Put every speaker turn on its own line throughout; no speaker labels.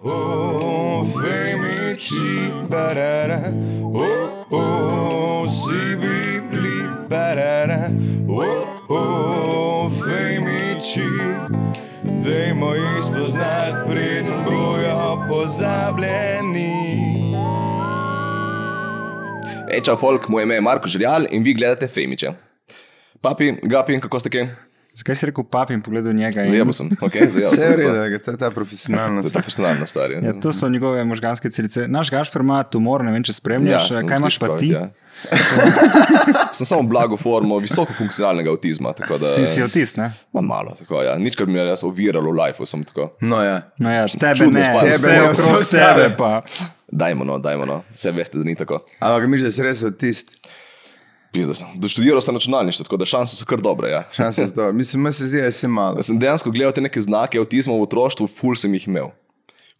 oh, vem mi ti, barara, oh, oh, si bibli, barara, oh, oh, vem mi ti. Dajmo jih spoznati, preden bojo pozabljeni.
Eča, folk, moje ime je Marko Žrjal in vi gledate Femiče. Papi, Gapi, kako ste kaj?
Zakaj si rekel papi in pogledal njega? In...
Zajel ja, sem, ok, zajel
Vse
sem.
je v
zato.
redu, to je ta
To je
profesionalnost.
ta personalna stvar. je.
Ja, to so njegove možganske celice. Naš gašpr ima tumor, ne vem, če spremljaš.
sem,
Ja, kaj imaš
sliš
pa
prav,
ti?
ja.
Ja.
sem samo blago formo, visoko funkcionalnega avtizma. tako Da,
Si, si otis, ne?
Imam malo, tako, ja. nič, kar bi me jaz oviralo v lifeu, sem tako.
No, ja.
No ja, tebe
Čudno
ne,
spada.
vse
Tebe ne,
okrog
vse ostale.
tebe pa.
Dajmo, no, dajmo, no. vse veste, da ni tako.
Ampak misliš, da si res odtist.
Pizda sem. Doštudiral sem računalništvo, tako da šanse so kar dobre. Ja.
Šanse za to. Mislim, meni se zdi, da si malo.
Jaz sem dejansko gledal te neke znake avtizma v otroštvu, ful sem jih imel.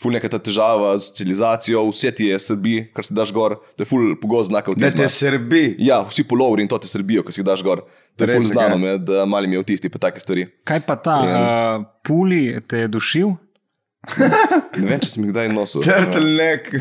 Ful neka ta težava z socializacijo, vse ti je srbi, kar si daš gor, to je ful pogost znak
Da
avtizma.
te srbi.
Ja, vsi polovri in to te srbijo, ko si jih daš gor. To je
Res,
ful znano
ja.
med eh, malimi avtisti, pa take stvari.
Kaj pa ta uh, puli te je dušil?
Ne vem, če sem jih kdaj nosil.
Trtlek,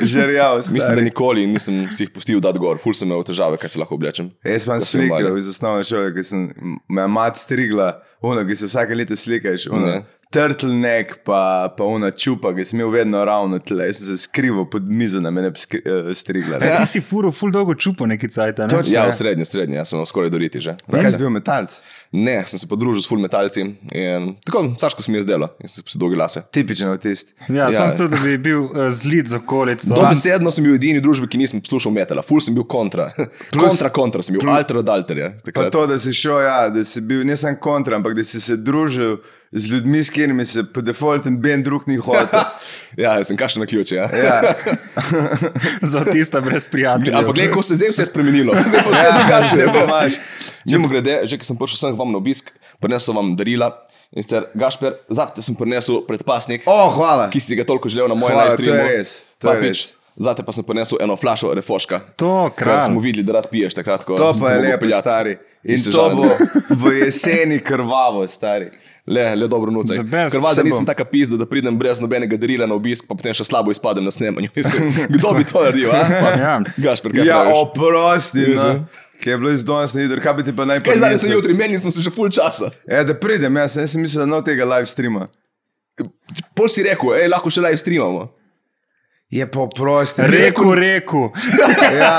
žerjav.
Mislim, da nikoli nisem si jih pustil dati gor, ful sem imel težave, kaj se lahko oblečem.
Jaz imam
Da sem
slike
mali.
iz osnovne šole, ki sem me mat strigla, uno, ki se vsake leto slikaš, uno.
Ne.
Trtlnek, pa, pa una čupa, ki sem imel vedno ravno tle, jaz sem se skrival pod mizo, na mene bi skri, uh, strigla.
Ja.
ne.
Ti si furo, ful dolgo čupo neki cajt. Ne?
Točno.
Ja, v srednji, v srednji, jaz sem imel skoraj doriti že.
pač Kaj si bil metalc?
Ne, sem se podružil s ful metalci in tako, saško se mi je zdelo, in sem si dolgi lase.
Tipičen avtist.
Ja, ja.
Ja.
Sam sem tudi, da bi bil uh, zlit z okolico.
Dobesedno sem bil edini v družbi, ki nisem poslušal metala, ful sem bil kontra. Plus, kontra, kontra sem bil, plus, alter od alterja.
Pa
takrat.
to, da si šel, ja, da si bil ne samo kontra, ampak da si se družil z ljudmi, s katerimi se po defaultu ben drug ni hotel.
ja, jaz sem kašel na ključe. Ja.
Ja.
Za tista brez prijateljev.
Ampak gledaj, ko se je zdaj vse spremenilo, zdaj pa vse
Ja, zdaj
drugače.
pa imaš.
Mimo grede, že ko sem prišel sem k vam na obisk, prinesel vam darila in sicer Gašper, zate sem prinesel predpasnik,
O, hvala.
ki si ga toliko želel na mojem
Hvala,
live streamu.
to je res, to je
Papič,
res.
zate pa sem prinesel eno flašo refoška.
To,
Ker
kralj.
smo videli, da rad piješ takrat, ko
To
sem
pa
te
je
mogel
lepo,
peljati
stari. In
iz
to
Sežane.
bo v jeseni krvavo, stari.
Le, le dobro noč.
The best,
Ker valjda
se
nisem
bom.
taka pizda, da pridem brez nobenega darila na obisk, pa potem še slabo izpadem na snemanju. Mislim, Kdo bi to naredil? a? Pa,
Ja.
Gašper, kaj
Ja,
praviš?
oprosti,
Jezu.
no. ki je bilo iz danes na jutro, kaj bi ti pa najprej.
Kaj zdaj ste jutri, meni smo se že full časa.
Ja, da pridem, jaz, sem- jaz sem mislil, da no tega live streama.
Pol si rekel, hej, lahko še live streamamo.
Je pa oprosti.
Reku, reku.
Ja.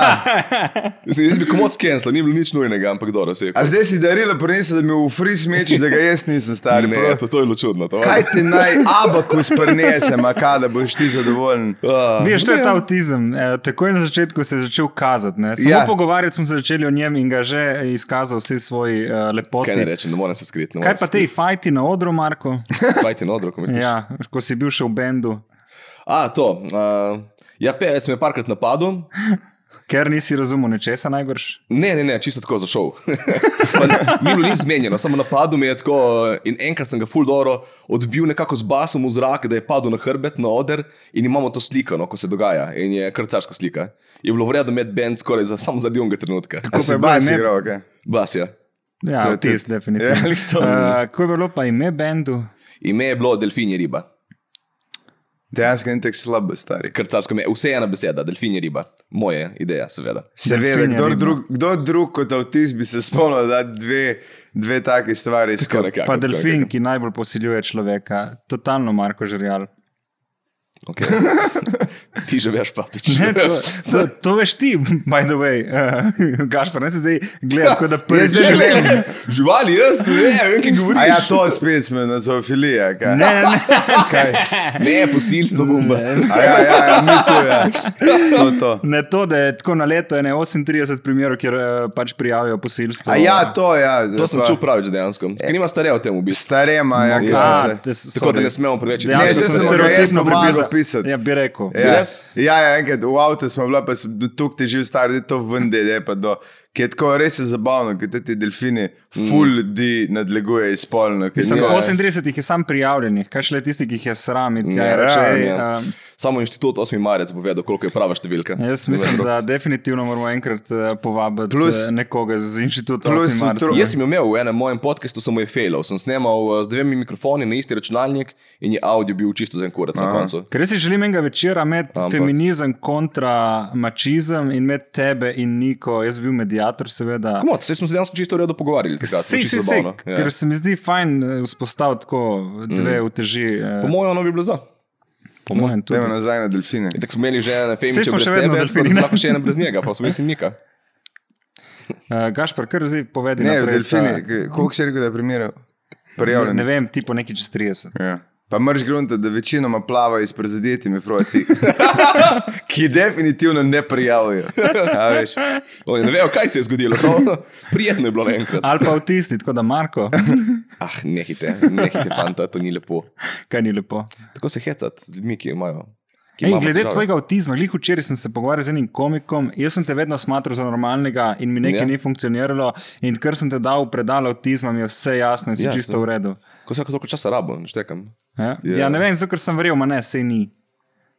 Mislim, jaz bi komod skensla, ni bilo nič nujnega, ampak dobro, se je.
A zdaj si darilo prinesel, da mi v free smečiš, da ga jaz nisem, stari.
Ne,
prav.
to, to je bilo čudno. To,
Kaj ti naj abakus prinesem, a kaj da boš ti zadovoljen?
Uh,
Veš, to je ta avtizem. E, takoj na začetku se je začel kazati. Ne? Samo
Ja.
ja. pogovarjati smo se začeli o njem in ga že izkazal vsi svoji uh, lepoti.
Kaj ne rečem, ne morem se skriti. ne
Kaj
morem
pa
se
te fajti na odru, Marko?
skriti. Fajti na odroku, misliš?
ja, ko si bil še v bendu,
A, to. Uh, ja, pevec me je parkrat napadel.
ker nisi razumel nečesa najbrž.
Ne, ne, ne, čisto tako zašel. Pa ne- Ni bilo nič zmenjeno, samo napadlo me je tako. eh, In enkrat sem ga full dobro odbil nekako z basom v zrak, da je padel na hrbet, na oder in imamo to sliko, no, ko se dogaja. In je krcarska slika. Je bilo vredno med bend skoraj za samo zaradi onega trenutka.
Ko
pa
se
je bilo
baj si
ime?
igral, kaj?
Bas je.
Ja,
To je
avtiz,
tudi-
definitivno.
Ja, glih to.
Eh, ko je bilo pa ime bendu?
Ime je bilo delfinje riba.
Dejansko ni tako slab, stari.
Krcarsko ime, vse ena beseda, delfinje riba. Moja ideja, seveda.
Seveda,
Delfinja
kdo
riba.
drug, kdo drug kot avtist bi se spomnil, da dve, dve take stvari
Tako
skupaj.
nekako,
Pa
tako
delfin,
nekako.
ki najbolj posiljuje človeka. Totalno, Marko Žrjal.
Okay. Ti že veš, papič.
Ne, to, to, to veš ti, by the way. Uh, Gašpar, ne se zdaj gledaš, kot da prvič
Ja, zdaj
že
gledam.
Živali, jaz ne vem, kaj govoriš.
A ja, to spet smo na zoofiliji, kaj?
Ne, ne.
kaj?
Ne, posilstvo bomba.
A ja, ja, ja, mi to je. To, to.
Ne to, da je tako na leto ene 38 primerov, kjer eh, pač prijavijo posilstvo.
A ja, to, ja.
To sem
pa-
čutil pravič dejansko. Ker nima starega v tem v bistvu.
Starema, ja, ki
Ja.
smo
A,
se.
te s-
Tako da
sorry.
ne smemo preveč
Ne, saj
Dejansko sem
sem ga jaz
stereotipno
pomagal
prepisal.
pisati.
Ja, bi rekel.
Si res?
Ja, ja, enkrat v avtu smo bili, pa sem bil tukaj težil, star, da je to ven, da je pa do ki je tako res je zabavno, ker te ti delfini
Mm.
ful ljudi nadleguje izpolno.
Mislim,
Ja, ja.
38 jih je sam prijavljenih, kaj šele tisti, ki jih je sram. in tja
Ja,
je reče,
ja,
"Ej,
Ja.
em,
Samo inštitut 8. marec bo vedel, koliko je prava številka.
eh, Jaz mislim, da definitivno moramo enkrat eh, povabiti plus,
Plus-
nekoga z inštituta.
plus
Plus, marca,
otro-
Jaz sem jo imel v enem mojem podkastu, sem jo failal. Sem snemal eh, z dvemi mikrofoni na isti računalnik in je audio bil čisto za en kurac na
Aha.
koncu.
Ker res si želim enega večera med Ampak.
Ampak-
feminizem kontra mačizem in med tebe in Niko. Jaz bi bil medijator, seveda.
Komod, vse smo se dejansko čisto v redu pogovarjali. Takrat,
Sej,
čisto
sej, sej,
zabavno. Ja.
ker se mi zdi fajn eh, vzpostaviti tako dve mm. uteži. eh,
Po mojem, ono bi bilo za.
po mojem, tudi.
Pojmo nazaj na delfine.
In Tako smo imeli že ena femiča,
Saj smo
brez
še vedno
tebe,
delfini,
tako da
ne?
lahko še ena brez njega, pa smo mislim nika.
Uh, Gašpar, kar zdaj povedi.
Ne,
naprej,
delfini,
ta-
k- koliko si rekel, da je primerov?
Ne, ne
Prijavljen.
vem, ti po neki čez 30.
Ja. Pa mrš grunta, da večinoma plavajo s prizadetimi froci, ki definitivno ne prijavijo.
Ja,
A veš?
Oni ne vejo, kaj se je zgodilo, samo prijetno je bilo naenkrat.
Ali pa avtisti, tako da Marko,
Ah, nehite, nehite, fanta, to ni lepo.
kaj ni lepo.
Tako se hecati z ljudmi, ki imajo. ki
Ej,
imamo
glede
težave.
tvojega avtizma, glih včeraj sem se pogovarjal z enim komikom, jaz sem te vedno smatral za normalnega in mi nekaj
Ja.
yeah. ni funkcioniralo, in ker sem te dal v predal avtizma, mi je vse jasno in si
Ja,
yeah, čisto
sem.
v redu.
Ko vsako toliko časa rabo, neštekam.
Ja,
Ja.
yeah. ja ne vem, zato ker sem verjel, ma ne, sej ni.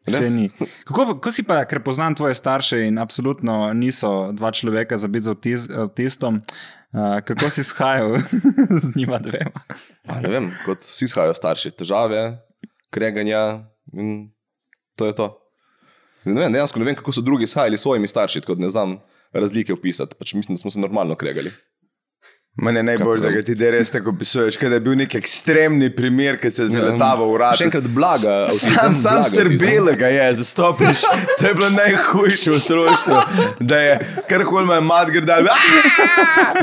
Sej
Res?
ni. Kako, pa- ko si pa, ker poznam tvoje starše in absolutno niso dva človeka za biti z avtiz, avtistom, uh, kako si shajal z njima dvema?
A, ne vem, kot vsi shajajo starši, težave, kreganja in to je to. Zdaj, ne vem, dejansko ne vem, kako so drugi shajali s svojimi starši, tako da ne znam razlike opisati. Pač mislim, da smo se normalno kregali.
Mene najbolj
Kako?
zaga ti, da res tako opisuješ, kaj da je bil nek ekstremni primer, ki se je zaletava v rad.
Še enkrat blaga, avtizem,
Sam, sam
blaga avtizem.
srbelega je, zastopiš. To je bilo najhujše otroštvo, da je karkoli me mat grdal.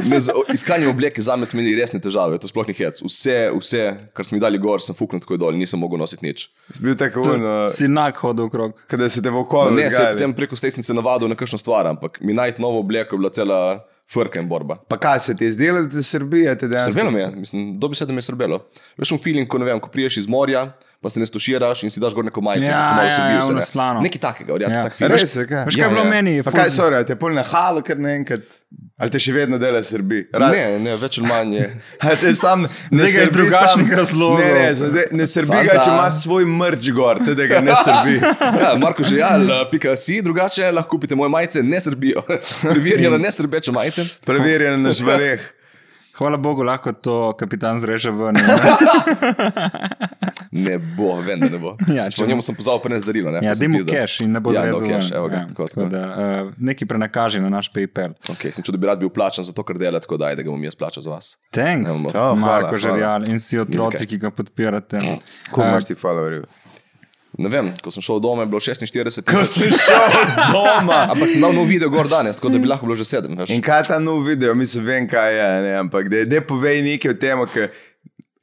Ne, Z o- iskanjem obleke za me smo imeli resne težave, to sploh ni hec. Vse, vse, kar smo mi dali gor, sem fuknil tako dol, nisem mogel nositi nič.
Bil tako uno,
Si nag hodil okrog.
kada se te v okolu
No, Ne, se potem
zgaja.
preko stej sem se navadil na kakšno stvar, ampak mi najti novo obleko je bila cela frka in borba.
Pa kaj se ti je zdelo, da te srbija? Te
Ja,
dejansko-
Srbelo mi je, mislim, dobi se, da mi je srbelo. Veš, un feeling, ko ne vem, ko priješ iz morja, pa se ne stoširaš in si daš gor neko majico,
Ja,
tako malo
ja,
srbijo
ja,
se,
ono
ne.
slano.
Nekaj takega, ja,
Ja.
tak feeling.
Res je, kaj?
Veš, kaj
Ja,
je bilo
ja.
meni?
Pa
ful-
kaj so rekli, te polne halo, kar naenkrat. Ali te še vedno dela Srbi?
Ne, ne, več ali manj je.
Ali te sam ne
Zdaj ga je iz
srbi
drugačnih
sam-
razlogov.
Ne, ne, zdaj, ne srbi ga,
Fanta.
če ima svoj mrč gor, te da ga ne srbi.
Ja, Marko Žejal, pika si, drugače lahko kupite moje majice, ne srbijo. Preverjeno, ne srbeče majice.
Preverjen na žvareh.
Hvala Bogu, lahko to kapitan zreže ven.
Ne bo, vem, da ne bo.
Ja,
Če
če-
njemu sem pozval, prenesti darilo. Ne,
Ja,
pa sem
da mu
pizdal.
cache in ne bo
ja,
zrezel.
Ja, cash,
ven.
evo ga,
Ja,
tako, tako.
tako da, uh, nekaj prenakaži na naš PayPal.
Ok, sem čutil, da bi rad bil plačan za to, kar dela, tako da ajde, ga bom jaz plačal za vas.
Thanks,
Evo.
Ja, hvala,
Marko
hvala.
Žerjal in vsi otroci,
zakaj.
ki ga podpirate.
Kako imaš ti followerjev?
Ne vem, ko sem šel domov, je bilo 46.
Ko
tisoč.
sem šel doma.
Ampak sem dal nov video gor danes, tako da bi lahko bilo že sedem. veš.
In kaj je ta nov video, mislim, vem, kaj je, ne, ampak da je povej nekaj o tem, ker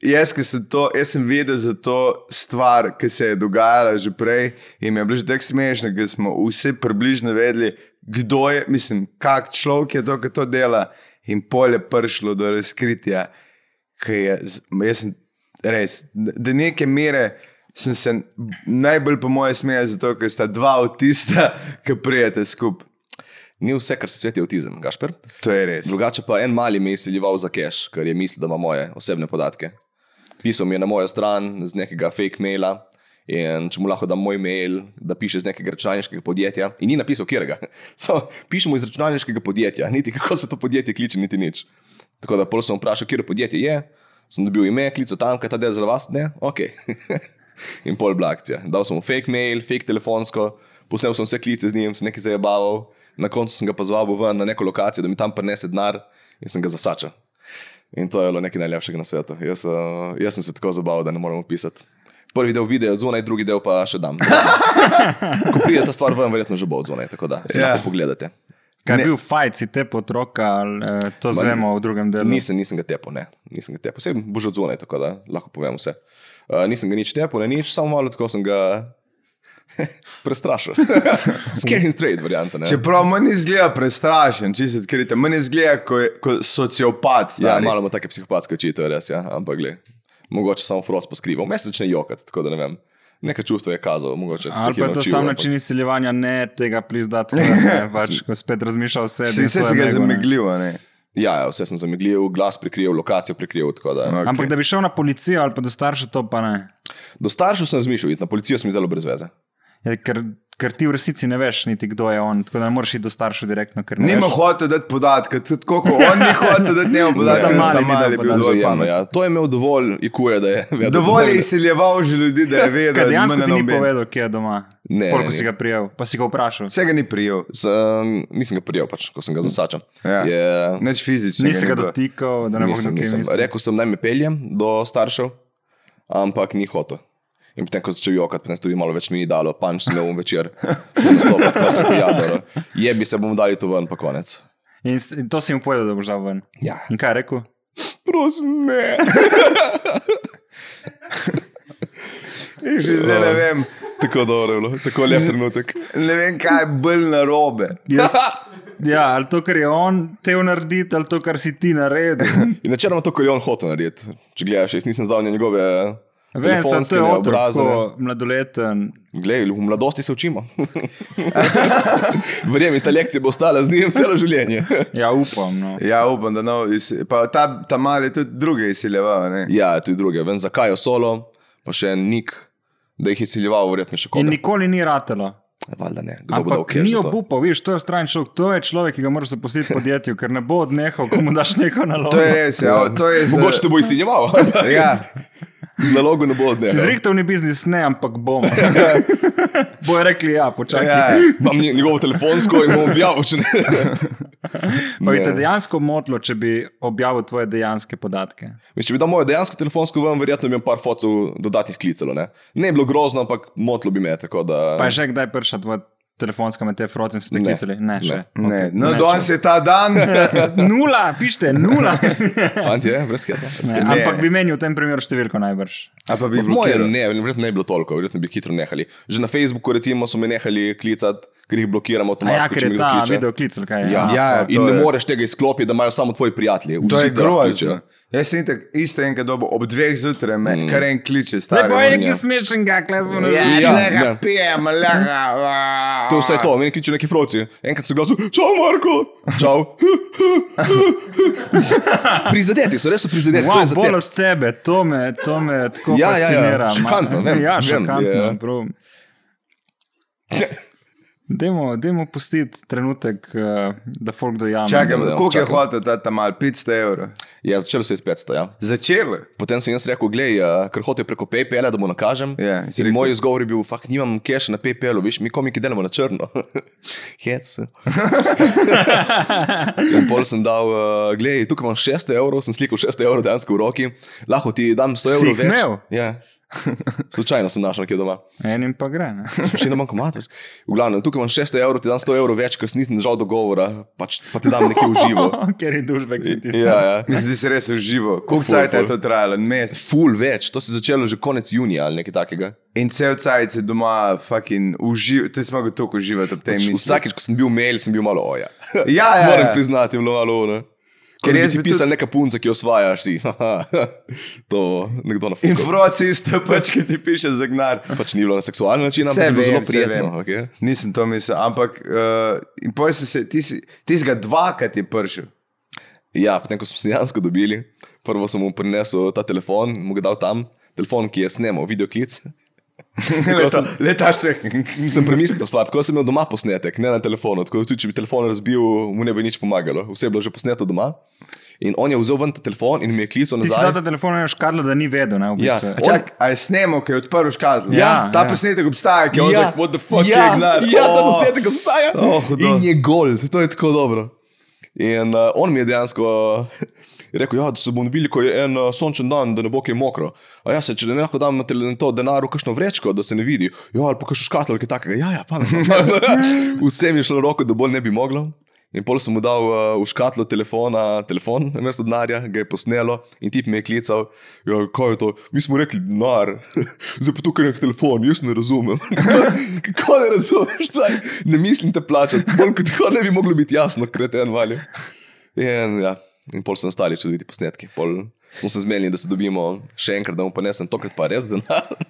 jaz, ki sem to, jaz sem vedel za to stvar, ki se je dogajala že prej in mi je bilo že tako smešno, ker smo vsi približno vedeli, kdo je, mislim, kak človek je to, ki to dela in polje prišlo do razkritja, ki je, z- jaz sem res, do neke mere. Sem se najbolj, po mojem, smejal, zato ker sta dva avtista, ki prijete skupaj.
Ni vse, kar se sveti avtizem, Gašper.
To je res.
Drugače pa en mali me je izsiljeval za cash, ker je mislil, da ima moje osebne podatke. Pisal mi je na mojo stran z nekega fake maila. In če mu lahko dam moj mail, da piše iz nekega računalniškega podjetja, in ni napisal, kjerega. Samo pišemo iz računalniškega podjetja, niti kako se to podjetje kliče, niti nič. Tako da prvo sem vprašal, kje podjetje je, sem dobil ime, klical tam, kaj ta del za vas, ne, ok. in pol bila akcija. Dal sem mu fake mail, fake telefonsko, posnel sem vse klice z njim, se nekaj zabaval, na koncu sem ga pa zvabil ven na neko lokacijo, da mi tam prinese denar in sem ga zasačal. In to je bilo nekaj najlepšega na svetu. Jaz, eh, jaz sem se tako zabaval, da ne morem opisati. Prvi del videa je zunaj, drugi del pa še dam. Ko pride ta stvar ven, verjetno že bo zunaj, tako da si
Ja.
yeah. lahko pogledate.
Kaj je
Ne.
bil fajn, si te potroka, ali, eh, to zvemo v drugem delu.
Nisem, nisem ga tepel, ne. Nisem ga tepel. Vse bo že odzunaj, tako da lahko povem vse. Uh, nisem ga nič tepel, ne nič, samo malo tako sem ga prestrašil. Scare and straight varianta, ne.
Čeprav meni izgleda prestrašen, če se odkrite, meni izgleda kot sociopat.
Ja,
stari.
malo ima take psihopatske oči, to je res, ja. ampak gled, mogoče samo frost poskrival. Mesečne jokati, tako da ne vem. Neka čustva je kazal, mogoče. se
Ali
jih je
pa je to
naučil,
sam
ampak-
način izsiljevanja, ne tega plizdati, ne, pač, ko spet razmišlja o sebi. in
Vsi se
svojem
ga
egu, ne.
zamegljiva, ne.
Ja, ja, vse sem zamegljal, glas prikrijel, lokacijo prikrijel. tako Da,
No.
no.
Okej.
Ampak da bi šel na policijo ali pa do staršev, to pa ne.
Do staršev sem zmišljal, iti na policijo sem zelo brez veze.
Ja, ker, ker ti v resnici ne veš, niti kdo je on, tako da ne moreš iti do staršev direktno. ker ne
Nima
veš. Ja,
hotel dati podatka, tudi tako kot on ni hotel dati njemu podatka,
Ta mali
da
ni dal
mali bi bil
podatka.
dovolj
Zajemno,
pamet.
ja. To je imel dovolj IQ-ja, da je vedel.
Dovolj je
da-
izsiljeval že ljudi, da je vedel,
ja,
da
Kaj
ima
dejansko ti ni
noben.
povedal, kje je doma?
Ne, ne,
Koliko
ne.
si ga prijel, pa si ga vprašal.
Vsega ni prijel,
Z, um, nisem ga prijel, pač, ko sem ga zasačal.
Ja.
Je,
nič fizično.
Nisi ga dotikal, da ne bo
nisem,
kdo kaj
nisem.
mislil.
Rekel sem, naj me pelje do staršev, ampak ni hotel. In potem, ko sem začel jokati, potem se tudi malo več mi ni dalo, panč sem imel večer, da nastopam, ko sem pojadal. Je bi se bomo dali to ven, pa konec.
In, s- in to si mu povedal, da boš dal ven.
Ja.
In kaj je rekel?
Prosim, ne.
Že zdaj
Oh.
ne vem,
Tako dobro je bilo, tako lep trenutek.
ne vem kaj je bolj narobe.
Jaz, ja, ali to, kar je on tev narediti, ali to, kar si ti naredil.
In načeloma to, kar je on hotel narediti. Če gledaš, jaz nisem znal njegove. eh,
Vem, sem
telefonske
to je
ne,
otrok,
obraze, ne.
tako mladoleten.
Glej, v mladosti se učimo. Verjemi, ta lekcija bo ostala z njim celo življenje.
Ja, upam. No.
Ja, upam, da no. iz- Pa ta, ta mali je tudi druge izsiljeval. ne.
ja, tudi druge. Vem, zakaj je solo, pa še en nik, da jih je siljeval, verjetno še
In
koga.
nikoli ni ratelo.
Valjda ne, kdo bo dal
Ampak
kjer
ni
za to?
obupal, veš, to je stran človek, to je človek, ki ga moraš zaposliti v podjetju, ker ne bo odnehal, ko mu daš neko nalogo.
To je res, ja, to je za-
Mogoče te bo izsiljeval, ampak
Ja,
z nalogo ne bo
Si
odnesel.
zrihtel ni biznis, ne, ampak bom. Bojo rekli, ja, počakaj.
ja.
Imam nje- njegovo telefonsko in bom objavil, če ne.
Pa bi te
ja.
Ne.
dejansko motilo, če bi objavil tvoje dejanske podatke.
Veš, če bi dal mojo dejansko telefonsko ven, verjetno bi imel par fotov dodatnih klicalo. Ne? ne bi bilo grozno, ampak motlo bi me. tako Da...
Ja.
Pa je še kdaj prša tvoja telefonska med te frote in so te
Ne.
klicali? Ne, še.
Ne, no,
Ne,
danes je ta dan.
Nula, pište, nula.
Fant je, eh, brez heca. brez
Ne,
heca.
ampak bi menil v tem primeru številko najbrž.
A pa bi
V Moje
blokiral.
ne, verjetno ne bi bilo toliko, verjetno bi hitro nehali. Že na Facebooku recimo, so me nehali klicati, ker jih blokiram
A ja,
avtomatsko.
ker
če mi
je
kdo
ta
kliče.
video klical, kaj je.
Ja,
Aha.
Ja, ja,
in
to
ne
je.
moreš tega izklopiti, da imajo samo tvoji prijatelji.
To
Vsi
je
te lahko kličejo.
grozno. Jaz sem tako isto enkrat dobo, ob dveh zjutraj, mm. kar en kliče,
Ne
stari.
bo je
on,
neki
ja.
smešen, kaj smo na
Ja,
Ja,
ja, ja.
ja.
pijem, lega.
To je vse to, meni kliče neki froci. Enkrat so glasu, čau, Marko, čau. prizadeti so, res so prizadeti. to je
Wow,
za
bolj
tep.
od tebe, to me, to me tako
Ja, ja, ja,
fascinira. ma-
šokantno, vem,
ja,
vem,
šokantno.
je.
prav. Dajmo, dajmo pustiti trenutek, eh, da folk dojame.
Čakaj,
Dobro,
koliko je
čakam.
hotel ta tam mal, 500 evrov.
Ja, začelo se je s 500. Ja.
Začeli.
Potem sem jaz rekel, glej, eh, ker hotel preko PayPala, da mu nakažem.
Ja, si
in
rekel.
moj izgovor je bil, fakt nimam keša na PayPalu, veš, mi komiki delamo na črno. Hec. in pol sem dal, uh, glej, tukaj imam 600 evrov, sem slikal 600 evrov dejansko v roki, lahko ti dam 100
Si
evrov
jih
več.
imel?
Ja. Slučajno sem našel nekje doma.
Enim pa gre. ne.
Sem še na bankomatu. V glavnem, tukaj imam 600 evrov, ti dam 100 evrov več, ker sem nisem držal dogovora, pač pa ti dam nekje v živo.
Ker je dušbek si tisti.
Ja, ja.
Mislim, da si res užival. Koliko
Ful,
cajt je
ful.
to trajalo? En Mesec.
Ful več, to se je začelo že konec junija ali nekaj takega.
In cel cajt si doma fucking užival. To smo ga tako uživali ob tej
Pač
misli.
Vsakič, ko sem bil mail, sem bil malo oja.
Ja, ja,
Moram
ja.
priznati, je bilo malo ono.
Ker
Ker je
jaz bi
ti
tudi-
pisal neka punca, ki jo osvajaš, si. to nekdo na
In
fuku.
froci isto pač, ki ti piše zagnar.
Pač ni bilo na seksualen način, ampak
Saj
je
vem,
bilo
saj
zelo
vem.
prijetno. Okay?
Nisem to mislil, ampak uh, poj si se, ti si, ti si ga dvakrat je pršil.
Ja, potem ko smo se dejansko dobili, prvo sem mu prinesel ta telefon, mu ga dal tam, telefon, ki je snemal videoklic. Tako
Leta,
sem,
leta se.
sem premislil to stvar, tako sem imel doma posnetek, ne na telefonu. Tako da tudi, če bi telefon razbil, mu ne bi nič pomagalo. Vse je bilo že posneto doma. In on je vzel ven ta telefon in mi je klical
Ti si
nazaj.
dal ta telefon in škadlo, da ni vedel. Ne, v
Ja.
bistvu.
On-
Čak, a je snemal, ki je odprl škatlo.
Ja,
ta
ja.
posnetek obstaja, ki je ja. like, what the fuck
ja,
je gnar.
Ja, ta posnetek obstaja.
Oh, hudo.
in je gol, to je tako dobro. In uh, on mi je dejansko je rekel, ja, da se bomo dobili, ko je en uh, sončen dan, da ne bo kaj mokro. A jaz se, če ne lahko dam na tele- na to denar v kakšno vrečko, da se ne vidi, ja, ali pa kakšno škatlo ali kaj takega. Ja, ja, pametno. Vse mi je šlo v roko, da bolj ne bi moglo. In pol sem mu dal uh, v škatlo telefona, telefon, namesto denarja, ga je posnelo in tip mi je klical, ja, kaj je to, mi smo rekli denar, zdaj pa tukaj nek telefon, jaz ne razumem. Kako ne razumeš, zdaj ne mislim te plačati, bolj kot tako ne bi moglo biti jasno, kreten valje. In, ja. in pol sem stali, če vidite posnetki. Pol smo se zmenili, da se dobimo še enkrat, da mu ponesem tokrat pa res denar.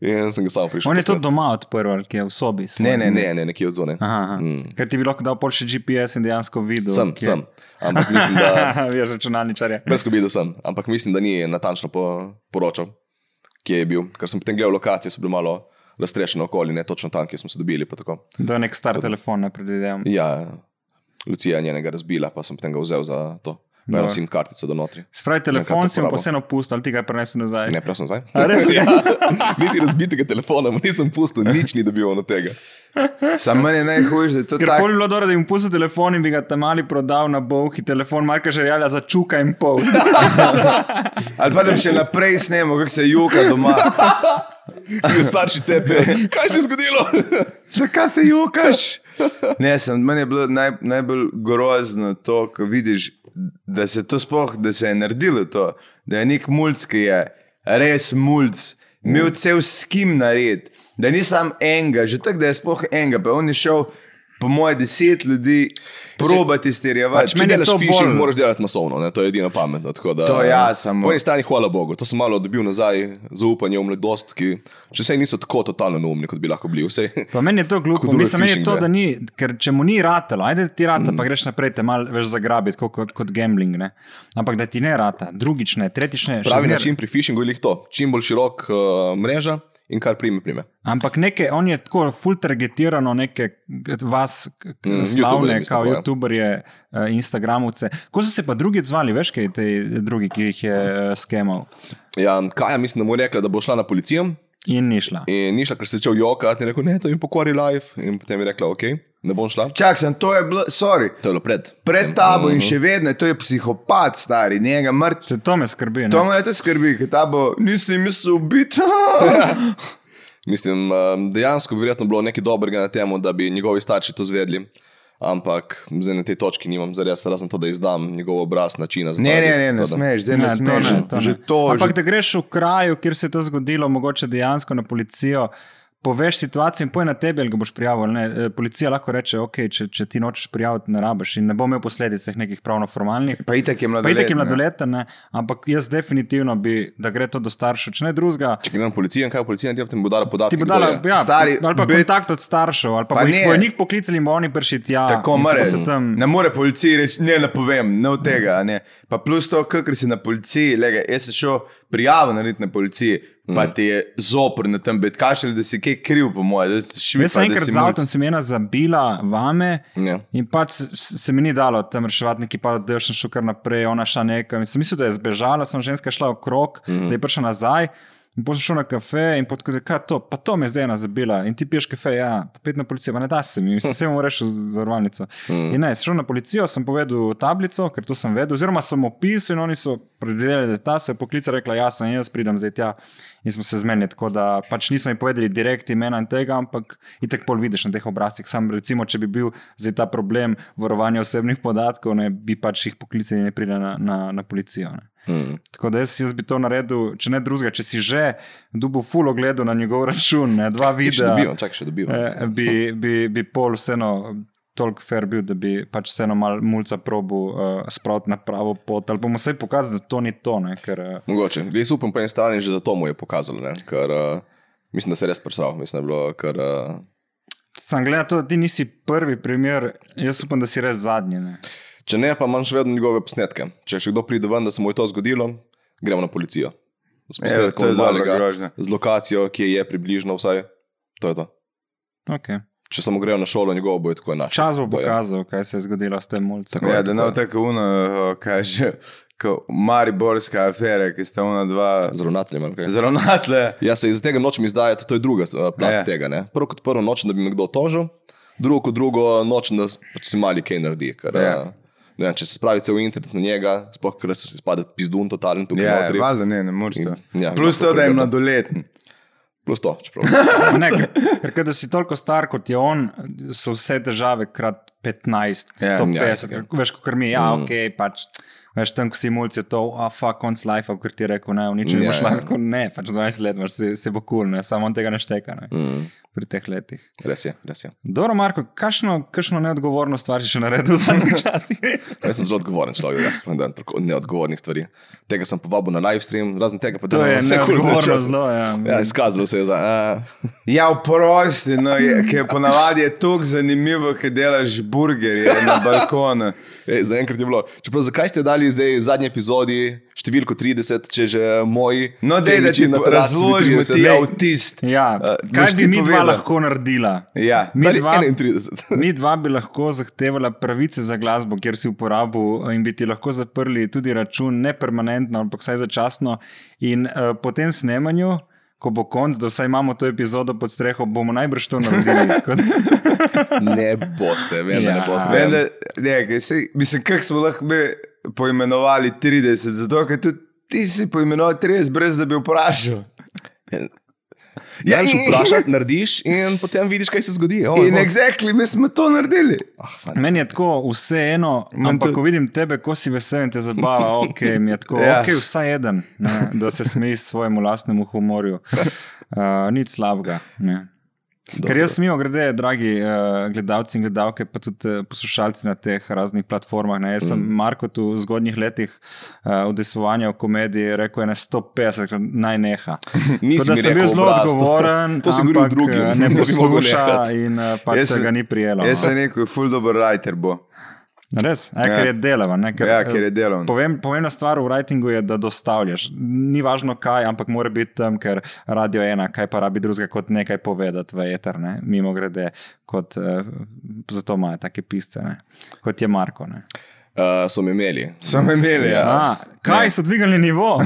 In sem ga sam prišel.
On je to
posnet.
doma odprl, ki je v sobi.
Ne, ne, ne.
Ne, ne, nekje od zone.
Aha, aha. Mm. Ker ti bi lahko dal pol še GPS in dejansko videl.
Sem,
kje- Ja,
sem. Ampak mislim, da.
Veš, računalničar je.
Brez skobida sem, ampak mislim, da ni natančno po, poročal, kje je bil. Ker sem potem gledal lokacije, so bile malo raztrešene okoli, ne točno tam, kjer smo se dobili. pa tako.
To je nek star telefon, ne predvidevam.
Ja, Lucija je njenega razbila, pa sem potem ga vzel za to. Pa
Dobro.
eno sim kartico do notri.
Spravi, telefon
Enkrat
si mu
uporabo.
pa vseeno pustil, ali ti ga je prenesel nazaj.
Ne, prosim, zdaj.
A res?
ja, niti razbitega telefona, mu nisem pustil, nič ni dobil od tega.
Sam meni je najhujše, da je to
Ker tak...
tako.
bi bilo dobro, da bi mu pustil telefon in bi ga tam ali prodal na bohi, telefon Marka Žerjala za čuka in pol.
Ali pa da bi še naprej snemal, kako se joka doma.
In starši tepe, kaj se je zgodilo?
Zakaj se jokaš? Ne, sem, meni je bilo naj, najbolj grozno to, ko vidiš, da se to sploh, da se je naredilo to, da je nek mulj, ki je res mulj, imel cel skim nared, da ni sam enega, že tako, da je sploh enega, pa on je šel, po moje, deset ljudi probati izterjevati.
Pač če
meni je
delaš
to
phishing,
bolj-
moraš delati masovno, ne? to je edino pametno. tako Da,
To ja, samo-
Po eni strani hvala Bogu, to sem malo dobil nazaj, zaupanje v mladost, ki še vse niso tako totalno neumni, kot bi lahko bili. Vse.
Pa meni je to glupo,
Kot druge
mislim, meni je
phishing,
to,
ja.
da ni, ker če mu ni ratalo, ajde ti rata, mm. pa greš naprej, te malo več zagrabiti, kot, kot, kot gambling. Ne? Ampak da ti ne rata, drugič ne, tretjič ne. še
Pravi
zmeraj.
način pri phishingu je lih to, čim bolj širok uh, mreža in kar prime, prime.
Ampak nekaj, on je tako full targetirano, neke k- vas, k- k-
Mm, youtuberje, mislim,
slavne, kot
tako, ja.
YouTuberje, eh, Instagramovce. Ko so se pa drugi odzvali, veš kaj, te drugi, ki jih je eh, skemal
Ja, Kaja mislim, da mu je rekla, da bo šla na policijo
in ni šla.
in ni šla, ker se je začel jokati in je rekel, ne, to jim pokvari life. In potem je rekla, ok, ne bom šla.
Čak, sem, to je bilo, sorry.
To je bilo pred. Mm-hmm.
Pred tabo in še vedno, je, to je psihopat, stari, njega mrtev.
Se to me skrbi. ne?
To me to skrbi, ker ta bo, nisem mislil ubiti.
Mislim, um, dejansko bi verjetno bilo nekaj dobrega na tem, da bi njegovi starši to zvedeli. Ampak zdaj na tej točki nimam zares, razen to, da izdam njegov obraz, način.
Ne, ne, ne, ne smeš, zdaj ne, ne
Ne, to
smeš.
ne, to ne.
že to,
Ampak
že
da greš v kraju, kjer se je to zgodilo, mogoče dejansko na policijo. Poveš situacijo in poje na tebi, ali ga boš prijavil. ali ne. Eh, Policija lahko reče, okay, če, če ti nočeš prijaviti, ne rabiš in ne bo imel posledic teh nekih pravno-formalnih.
Pa itak je
Pa je
mladoleten. ne.
tako mladoleten, ne, ampak jaz definitivno bi, da gre to do staršev, če ne drugega.
Če grem na policijo, in kaj policija naredi, potem bo dala podatke.
Ti bo
kdo
dala
je.
ja,
stari,
ali pa
bet-
bet... kontakt od staršev, ali pa,
Pa
pa bo
ne.
jih- bojo njih poklicali in bo oni prišli tja.
Ja, Tako
in se
mora.
boste tam-
Ne more policiji reči, ne, ne povem, ne od tega. a Ne. Pa plus to, ker si na policiji, lega, jaz sem šel prijavo narediti na policiji, pa
Mm.
ti je zopr na tem betkašelj, da si kaj kriv, po mojem. Jaz
Jaz sem enkrat z avtom, sem ena zabila vame
Ja.
in pač s- s- se mi ni dalo tam reševati, neki pa da sem šel kar naprej, ona šla nekam. In sem mislil, da je zbežala, sem ženska šla okrog, mm -hmm.
Mhm.
da je prišla nazaj. In potem sem šel na kafe in potem rekel, kaj to, pa to me je zdaj ena zabila. In ti piješ kafe, ja, pa pet na policijo, pa ne da se mi, sem se mu rešil z- zavarovalnico. Mm. In ne, sem šel na policijo, sem povedal tablico, ker to sem vedel, oziroma sem opisal in oni so predvideli, da je ta se je poklical, rekla, ja, sem jaz, pridem zdaj tja. In smo se zmenili, tako da pač nismo jim povedali direkt imena in tega, ampak itek pol vidiš na teh obrazcih. Sam recimo, če bi bil zdaj ta problem varovanja osebnih podatkov, ne bi pač jih poklicali in ne pride na, na, na policijo. Ne.
Mm.
Tako da jaz, jaz bi to naredil, če ne drugega, če si že dubo fulo gledal na njegov račun, ne, dva
Ti Še
videa,
dobivam, čakaj, še dobivam.
eh, bi, bi, bi pol vseeno toliko fair bil, da bi pač vseeno mal mulca probu uh, spraviti na pravo pot, ali bomo vse pokazali, da to ni to, ne, ker uh,
Mogoče. Jaz upam, pa en stalen že, da to mu je pokazalo, ne? ker uh, mislim, da se je res prsal. Mislim, da je bilo, ker uh,
sem gledal to, da ti nisi prvi primer, jaz upam, da si res zadnji. Ne.
če ne, pa imam še vedno njegove posnetke. Če še kdo pride ven, da se mu je to zgodilo, gremo na policijo. S
Evo, Ja, to
posnetkom
je dobra
malega,
grožnja.
z lokacijo, ki je približno vsaj. To je to.
Okay.
Če samo grejo na šolo, njegovo bo je tako enak.
Čas bo
To je.
pokazal, kaj se je zgodilo s tem mulcem.
Ja,
je,
da
tako
ne
je.
bo tako uno, kaže, mariborska afera, ki sta ona dva
Z ravnateljem. ali kaj?
zelo natle.
Jaz se iz tega nočem izdajati, to je druga eh, plat
Ja.
ja. tega. Ne? Prvo kot prvo nočem, da bi me kdo tožil, drugo kot drugo nočem, da s- pač si mali kaj naredi. Ker,
Ja.
ja. ne, vem, če se spravi cel internet na njega, sploh ker se spada pizdun totalen tukaj
Ja,
notri.
valjda ne, ne moreš to.
Ja,
Plus
lahko
to, da je
pregledam.
mladoleten.
Plus to, čeprav.
Ne, ker, ker kadar si toliko star kot je on, so vse težave krat 15,
Ja,
150,
ja, ja.
yeah, yeah. veš, kot mi, ja, mm. ok, pač. Veš, tam, ko si mulj, je to, a fuck, konc life, kot ti je rekel, ne, uničil
Ja,
yeah, boš
ja.
lahko, ne, pač 20 let, veš, se, se bo kul, cool, ne, samo on tega ne šteka, ne,
Mm.
pri teh letih.
Res je, res je.
Dobro, Marko, kakšno, kakšno neodgovorno stvar si še naredil v zadnjih časih?
Jaz sem zelo odgovoren človek, jaz sem dan tako neodgovornih stvari. Tega sem povabil na live stream, razen tega pa
to
delam
je
vse kul za
neodgovorno
čas.
zelo, ja.
Ja, izkazalo se je za. Uh,
Ja, oprosti, no, je- ker ponavadi je tako zanimivo, ker delaš burgerje na balkonu.
Ej, zaenkrat je bilo. Čeprav, zakaj ste dali zdaj v zadnji epizodi številko 30, če že moji?
No, dej, da
feniči
ti
na terasi bi
razložimo
30,
ti
daj,
avtist.
Ja,
Eh, boš
kaj bi
ti
mi dva
povedal?
lahko naredila?
Ja,
mi
dali
dva,
31.
mi dva bi lahko zahtevala pravice za glasbo, kjer si uporabil eh, in bi ti lahko zaprli tudi račun, ne permanentno, ampak vsaj začasno. In uh, po tem snemanju, ko bo konc, da vsaj imamo to epizodo pod streho, bomo najbrž to naredili. Tako da-
Ne boste, vem, ja. ne
Ja.
boste.
Ne, da, ne, kaj se, mislim, kako smo lahko mi poimenovali 30, zato ker tudi ti si poimenoval 30, brez da bi vprašal.
Ja, in če vprašaš, narediš in potem vidiš, kaj se zgodi. Oh,
In exactly, mi smo to naredili.
ah, fant.
Meni je tako vseeno,
Meni
ampak
tudi.
ko vidim tebe, ko si vesel in te zabava, ok, mi je tako,
Ja.
ja. ok, vsaj eden, ne, da se smeji svojemu lastnemu humorju. Uh, nič slabega. Ne. Ker jaz, mimo grede, dragi uh, gledalci in gledalke, pa tudi uh, poslušalci na teh raznih platformah. Ne? Jaz sem mm. Marko tu v zgodnjih letih uh, udejstvovanja v komediji rekel, da je 150 krat naj neha. Tako da
mi
sem
rekel
bil zelo
obraz, to-
odgovoren,
to si govoril
ampak,
drugim,
eh,
ne
ne
bi mogel
posluša
nehati.
in eh, pač
Jaz
se
sem-
ga ni prijelo. no.
Jaz sem rekel, ful dober writer bo.
Res, e, ker
Ja.
je delava. Ne, ker, eh,
Ja, ker je delovn.
Povem, pomembna stvar v writingu je, da dostavljaš. Ni važno kaj, ampak mora biti tam, ker radio je ena, kaj pa rabi drugega kot nekaj povedati v eter, ne? mimo grede, kot eh, zato imajo take pisce, ne? kot je Marko. Ne?
Uh, so me imeli.
Samo imeli. Ja.
A, kaj so dvignili nivo?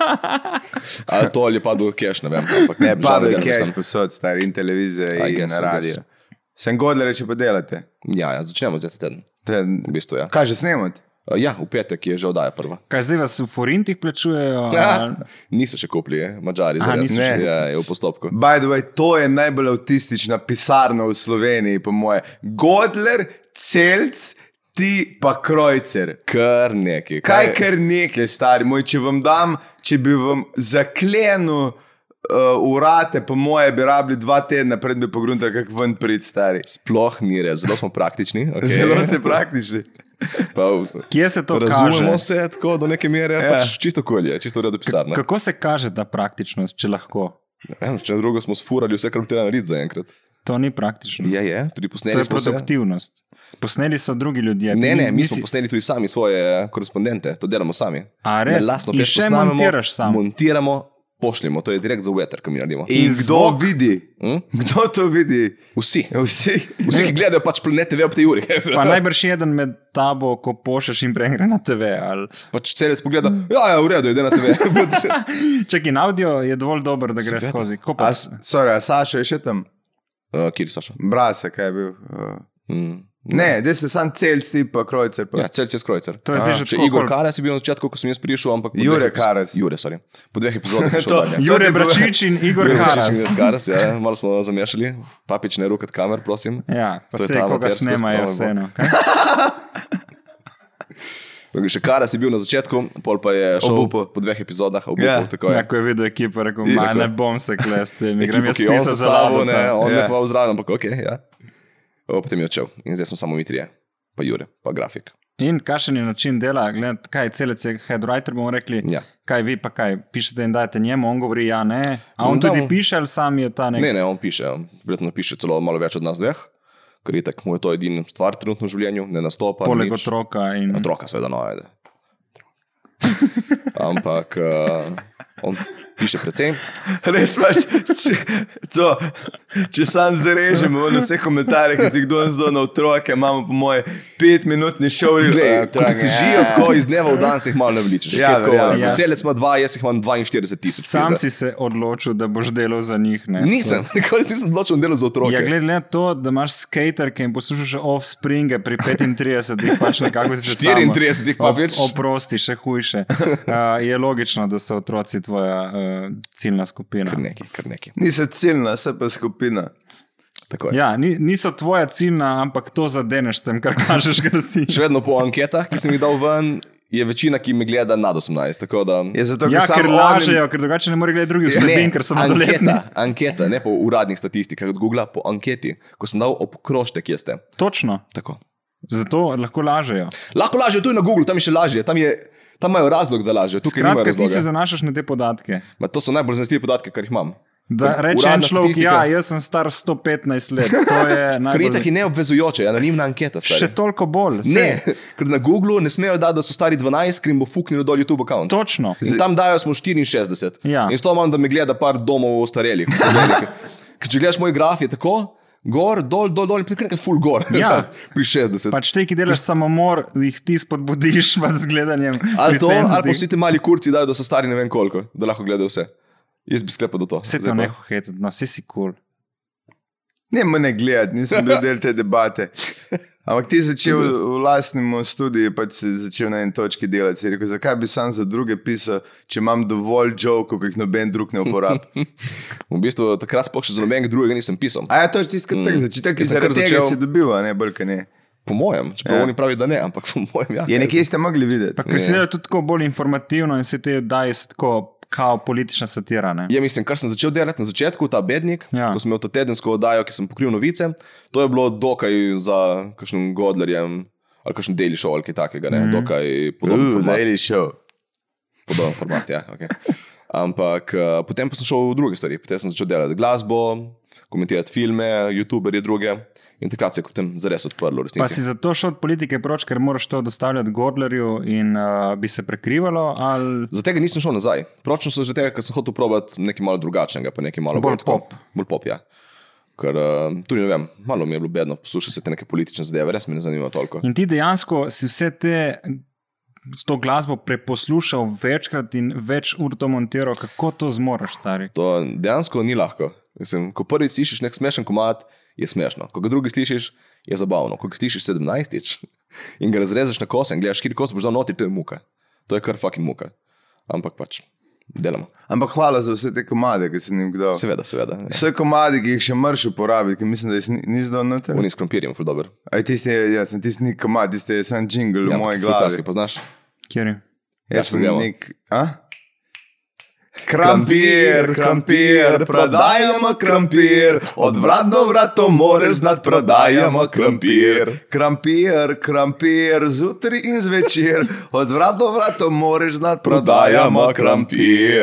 Ali to ali je padel keš, ne vem. Ampak,
Ne,
žal
padel je
delam
keš
sam.
posod, star in televizija
I
in
guess, I
na radio.
guess.
Sem godler, če pa delate.
Ja, ja, začnemo zdaj ta teden.
Te-
V bistvu, ja.
Kaj že snemati?
Uh, ja, v petek je že oddaja prva.
Kaj zdaj vas v forintih plačujejo?
Ja,
ali-
niso še kupili, eh, mačari,
A,
zdaj
niso
še-
ja, je v postopku.
By the way, to je najbolj avtistična pisarna v Sloveniji, po moje. Godler, celc, ti pa krojcer.
Kar nekaj.
Kaj kar nekaj, stari moj, če vam dam, če bi vam zaklenil. Uh, urate, po moje, bi rabili dva tedna, pred bi pogruntali, kako ven prid, stari.
Sploh ni res, zelo smo praktični. Okay.
Zelo ste praktični.
Pa,
Kje se to
razumemo
kaže?
se tako do neke mere, ja. pač čisto kolje, čisto redo pisarna.
Kako se kaže ta praktičnost, če lahko?
Ja, če ne drugo smo sfurali vse, kar bi trebalo narediti zaenkrat.
To ni praktično.
Je, je, tudi
To
posneli
je
smo se.
produktivnost. Posneli so drugi ljudje.
Ne,
ti
ne, mi
nisi-
smo posneli tudi sami svoje korespondente, to delamo sami.
A, res?
Na lastno
In
peš
še
posnamemo,
montiraš sam?
Montiramo, pošljemo, to je direkt za veter, kam mi naredimo.
In kdo
zvok?
vidi?
Hm?
Kdo to vidi?
Vsi.
Vsi.
Vsi, ki gledajo pač planet TV ob tej uri.
Pa najbrž eden med tabo, ko pošlješ in prengre na TV. Ali...
Pač celec pogleda, ja, ja, v redu, ide na TV. Pač,
Če je audio, je dovolj dober, da gre
Seveda.
skozi. Ko
A,
pa-
s- sorry, a Saša je še tam,
uh, Kjer so še?
brasa, kaj je bil. Uh,
Mm.
ne, da se sam celc, ti pa krojcer. Pa.
Ja, celec je skrojcer.
To je zdaj že
Še
tako,
Igor
kol-
Karas je bil na začetku, ko sem jaz prišel, ampak... po
Jure
dveh epiz-
Karas.
Jure, sorry. Po dveh epizodah je šel
To-
dalje.
Jure
ti bo-
Bračič in Igor
Jure Karas.
Karas.
Jure Karas, ja, malo smo zamešali. Papič ne rukat kamer, prosim.
Ja, pa
To je
se
ta
koga
amaterska
snemajo,
ustanova.
vseeno.
Še Karas je bil na začetku, pol pa je šel
Obupal.
po dveh epizodah, obupu,
Ja.
ja. tako je.
Ja, ko je videl ekipo, je rekel,
Ni
"Ma,
rekel.
ne bom se klestil, mi grem
Ja. Ekipo,
jaz
ki je on
pisati za lavo.
sestavil, ne, on
Ja.
je pa vzraven, ampak ok, ja. O, potem je odšel in zdaj smo samo mi trije, pa Jure, pa grafik.
In kakšen je način dela, gled, kaj je celec je headwriter, bomo rekli,
Ja.
kaj vi pa kaj, pišete in dajete njemu, on govori ja, ne. A on
Da,
tudi
on-
piše ali sam je ta nek?
No, Ne, ne, on piše, verjetno piše celo malo več od nas dveh, ker je tako mu je to edina stvar trenutno v življenju, ne nastopa.
Poleg
nič.
otroka in
Otroka, seveda, no, ajde. Ampak uh, on piše predvsem.
Res pač, če, to, če sam
No.
zarežemo v vse komentarje, ki si jih kdo zdo na otroke, imamo po moje petminutni šov.
Eh,
eh,
Glej, ja, ko ti težijo, tako iz dneva v dan se jih malo ne vličeš.
Ja, verjamem.
Jaz-
Celec ima dva, jaz jih imam 42 tisoč.
Sam
pizda.
si se odločil, da boš delal za njih. Ne?
Nisem, nikoli se nisem odločil, da delam za
To-
otroke.
Ja, glede na to, da imaš skater, ki jim poslušaš offspringe pri 35, pač nekako si se samo
34 pa več.
Op, oprosti, še hujše. Uh, je logično, da so otroci tvoja uh, ciljna skupina.
Kar nekaj, kar nekaj.
Nisi ciljna, se pa skupina.
Tako je.
Ja, ni, niso tvoja ciljna, ampak to zadeneš s tem, kar kažeš, kar si.
Še vedno po anketah, ki sem jih dal ven, je večina, ki me gleda nad 18. Tako da
Je zato,
Ja,
sam
ker
onim-
lažejo, ker drugače ne more gledati drugih vsebin, ker so mladoletni.
Ja, anketa, anketa, ne po uradnih statistikah, od Google, po anketi, ko sem dal obkrožte, kje ste.
Točno,
Tako.
zato lahko lažejo.
Lahko lažje, tu je na Google, tam je še lažje, tam, je, tam imajo razlog, da lažje.
Skratka, ti se zanašaš na te podatke.
Ma, to so najbolj zanesljivi podatki, kar jih imam.
Da
Ker
reče en
uradna
človek,
statistika-
ja, jaz sem star 115 let. To je
Kar je tako
najbolj...
neobvezujoče, anonimna anketa. stari.
Še toliko bolj.
Ne,
saj,
ker na Googlu ne smejo dati, da so stari 12, ker jim bo fuknil dol YouTube račun.
Točno.
In tam dajo smo 64.
Ja.
In s to imam, da me gleda par domov ostarelih. Ker če gledaš moj graf, je tako, gor, dol, dol, dol, in potem kar nekaj full gor.
Ja.
Pri 60.
Pač te, ki delaš samomor, jih ti spodbudiš pač z gledanjem.
ali
pri
to, ali pa
70-ih.
vsi ti mali kurci dajo, da so stari ne vem koliko, da lahko gledajo vse. Jaz bi sklepal do to.
Vse
Zdaj
to
pa-
ne hočeš, no, vsi si kul. Cool.
Ne, me ne gledati, nisem bil del te debate. Ampak ti si začel v v lastnem studiu, pač si začel na eni točki delati. Si rekel, zakaj bi sam za druge pisal, če imam dovolj jokov, ki jih noben drug ne uporablja.
V bistvu takrat sploh še za nobenega drugega nisem pisal.
A ja, to je tisto, kar
Mm.
mm. začetek, ki
Jaz sem
se
kar
tega
začel-
si dobil, a ne, bolj, ne.
Po mojem, čeprav ja.
Ja.
oni pravijo, da ne, ampak po mojem. Ja,
Je nekje ste mogli videti.
Pa ker se
Ja.
dela tudi tako bolj informativno in se te daje tako, kao politična satira. Ne?
Ja, mislim, kar sem začel delati na začetku, ta bednik, ja.
Ja.
ko sem imel to tedensko oddajo, ki sem pokril novice, to je bilo dokaj za kakšnim Godlerjem ali kakšen deli šov ali kaj takega, ne, mm. dokaj podoben
Mhm. Uh,
format.
Daily Show.
Podoben format ja, okay. Ampak eh, potem pa sem šel v druge stvari, potem sem začel delati glasbo, komentirati filme, YouTuberje druge in takrat se je potem zares odprlo. v
Pa
resnici.
si zato šel od politike proč, ker moraš to dostavljati Gordlerju in uh, bi se prekrivalo, ali
Zaradi tega nisem šel nazaj. Pročno sem zaradi tega, ker sem hotel probati nekaj malo drugačnega, pa nekaj malo
Bolj
tako-
pop.
Bolj pop, ja. Ker uh, tudi ne vem, malo mi je bilo bedno poslušati te neke politične zadeve, res me ne zanima toliko.
In ti dejansko si vse te. S to glasbo preposlušal večkrat in več ur to montiral, kako to zmoriš, stari.
To dejansko ni lahko. Mislim, ko prvi slišiš nek smešen komat, je smešno. Ko ga drugi slišiš, je zabavno. Ko ga slišiš sedemnajstič in ga razrežeš na kose in gledaš štiri kose, boš dal notri, to je muka. To je kar fucking muka. Ampak pač, delamo.
Ampak hvala za vse te komade, ki sem jim jih dal.
Seveda, seveda. ja.
Vse komade, ki jih še mrš uporabiti, ki mislim, da jih ni zdal na terenu.
Oni s krompirjem, ful dober.
Aj, tisti, je- jaz sem tisti ni komad, tisti je sam jingle
Ja,
v moji
ampak fulcarski,
glavi.
poznaš?
Kjer je?
Jaz sem
gremo.
nek. A? Krampir, krampir, prodajamo krampir, od vrat do vrat to moraš znati, prodajamo krampir. Krampir, krampir, zjutraj in zvečer, od vrat do vrat to moraš znati, prodajamo krampir.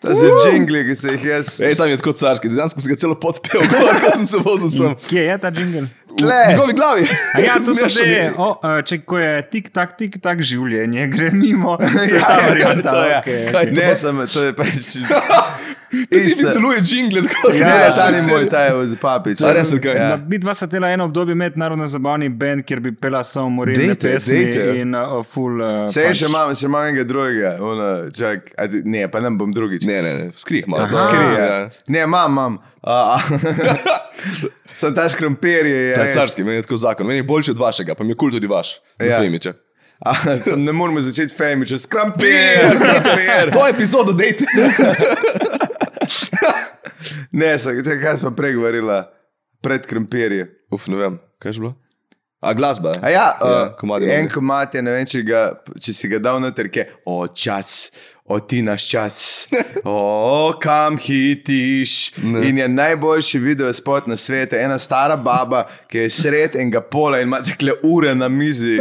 To so džingli, ki se jih jaz.
Ej, tam je tako carski, dejansko si ga celo podpel, gor, ko sem se vozil sem.
Kje je ta jingle?
Tle.
V njegovi glavi.
A Ja, to so
Smešno
že,
je.
o, eh, če ko je tik tak, tik tak življenje, gre mimo. To je
Ja,
ta
ja,
varianta,
to je.
okej,
Kaj
okej.
Ne, sem, to je pač.
Ti
Isto.
izdeluje jingle, tako da
Ne,
Ja,
ja, stari moj,
ta.
ta je od papič.
A res, okej.
Ja.
Mi dva sta delala eno obdobje mednarodno zabavni bend, kjer bi pela samo morilne
Dejte,
pesmi
dejte.
in uh, full. Uh,
Vse je še imam, še imam enega drugega, ono, čak, a, ti- ne, pa nam bom drugič.
Ne, ne, ne, skrij malo.
Aha.
Skri,
Ja.
ja. Ne, imam, imam. A, a. Sem ta škrompir, je. je
Ta
res.
Ja, carski, meni je tako zakon, meni je boljši od vašega, pa mi je kul tudi vaš.
Ja.
Ja.
A, sem, ne moremo začeti fame, če škrompir, škrompir.
E, To epizodo dejte.
Ne, sem, čak, kaj smo pregovorila pred krompirjem.
Uf, ne vem, kaj je že bilo? A glasba.
A ja,
ja
uh,
komadi.
en komad je, ne vem, če, ga, če si ga dal na terke, o čas, o ti naš čas, o kam hitiš.
Ne.
Ne. In je najboljši video spot na svetu, ena stara baba, ki je sred enega pola in ima tekle ure na mizi.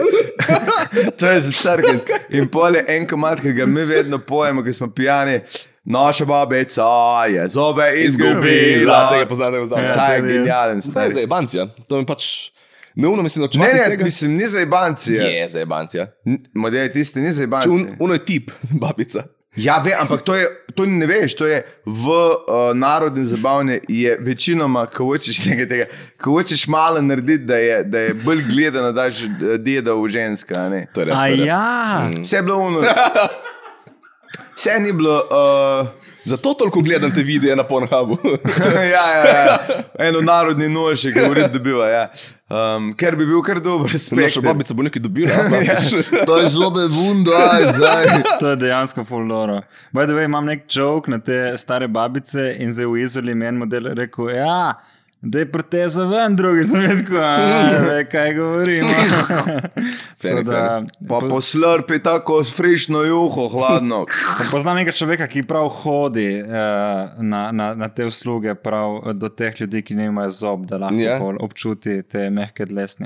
to je za crkven. In pol je en komad, ki ga mi vedno pojemo, ki smo pijani. Naša babica je zobe
Izgubila,
izgubila.
tega poznam, tega poznam.
Ja,
Ta
Ta je
tudi jaz.
genialen,
To je
stari.
za ebancija. To mi pač neumno mislim, da
Ne,
čuvati iz
ne,
tega.
mislim, ni za ibanci.
Je za ebancija.
Model je tisti, ni za ibanci.
Un, uno je tip, babica.
Ja, ve, ampak to, je, to ne veš, to je v uh, narodni zabavni, je večinoma, ko hočeš nekaj tega, ko hočeš malo narediti, da je, da je bolj gledano, da je deda v ženska. a ne.
To je res. to
A
je res.
ja,
Vse je bilo uno. Vse ni bilo. Uh,
Zato toliko gledam te videe na Pornhubu.
ja, ja, ja. Eno narodni nož, ki ga ured dobiva. Ja. Um, ker bi bil kar dober
No, še
spet.
babica bo nekaj dobila. a
Ja.
pač.
To je zelo bevundo, zdaj.
to je dejansko full loro. By the way, imam nek joke na te stare babice in zdaj v Izoli meni model rekel, ja. da je proteza ven, drugi sem rekel, tako, "A, ve, kaj govorim.
Feni, feni.
Pa poslrpi tako s frišno juho, hladno.
Poznam nekaj človeka, ki prav hodi eh, na, na, na te usluge, prav eh, do teh ljudi, ki nimajo zob, da lahko
Ja.
yeah. občuti te mehke dlesne.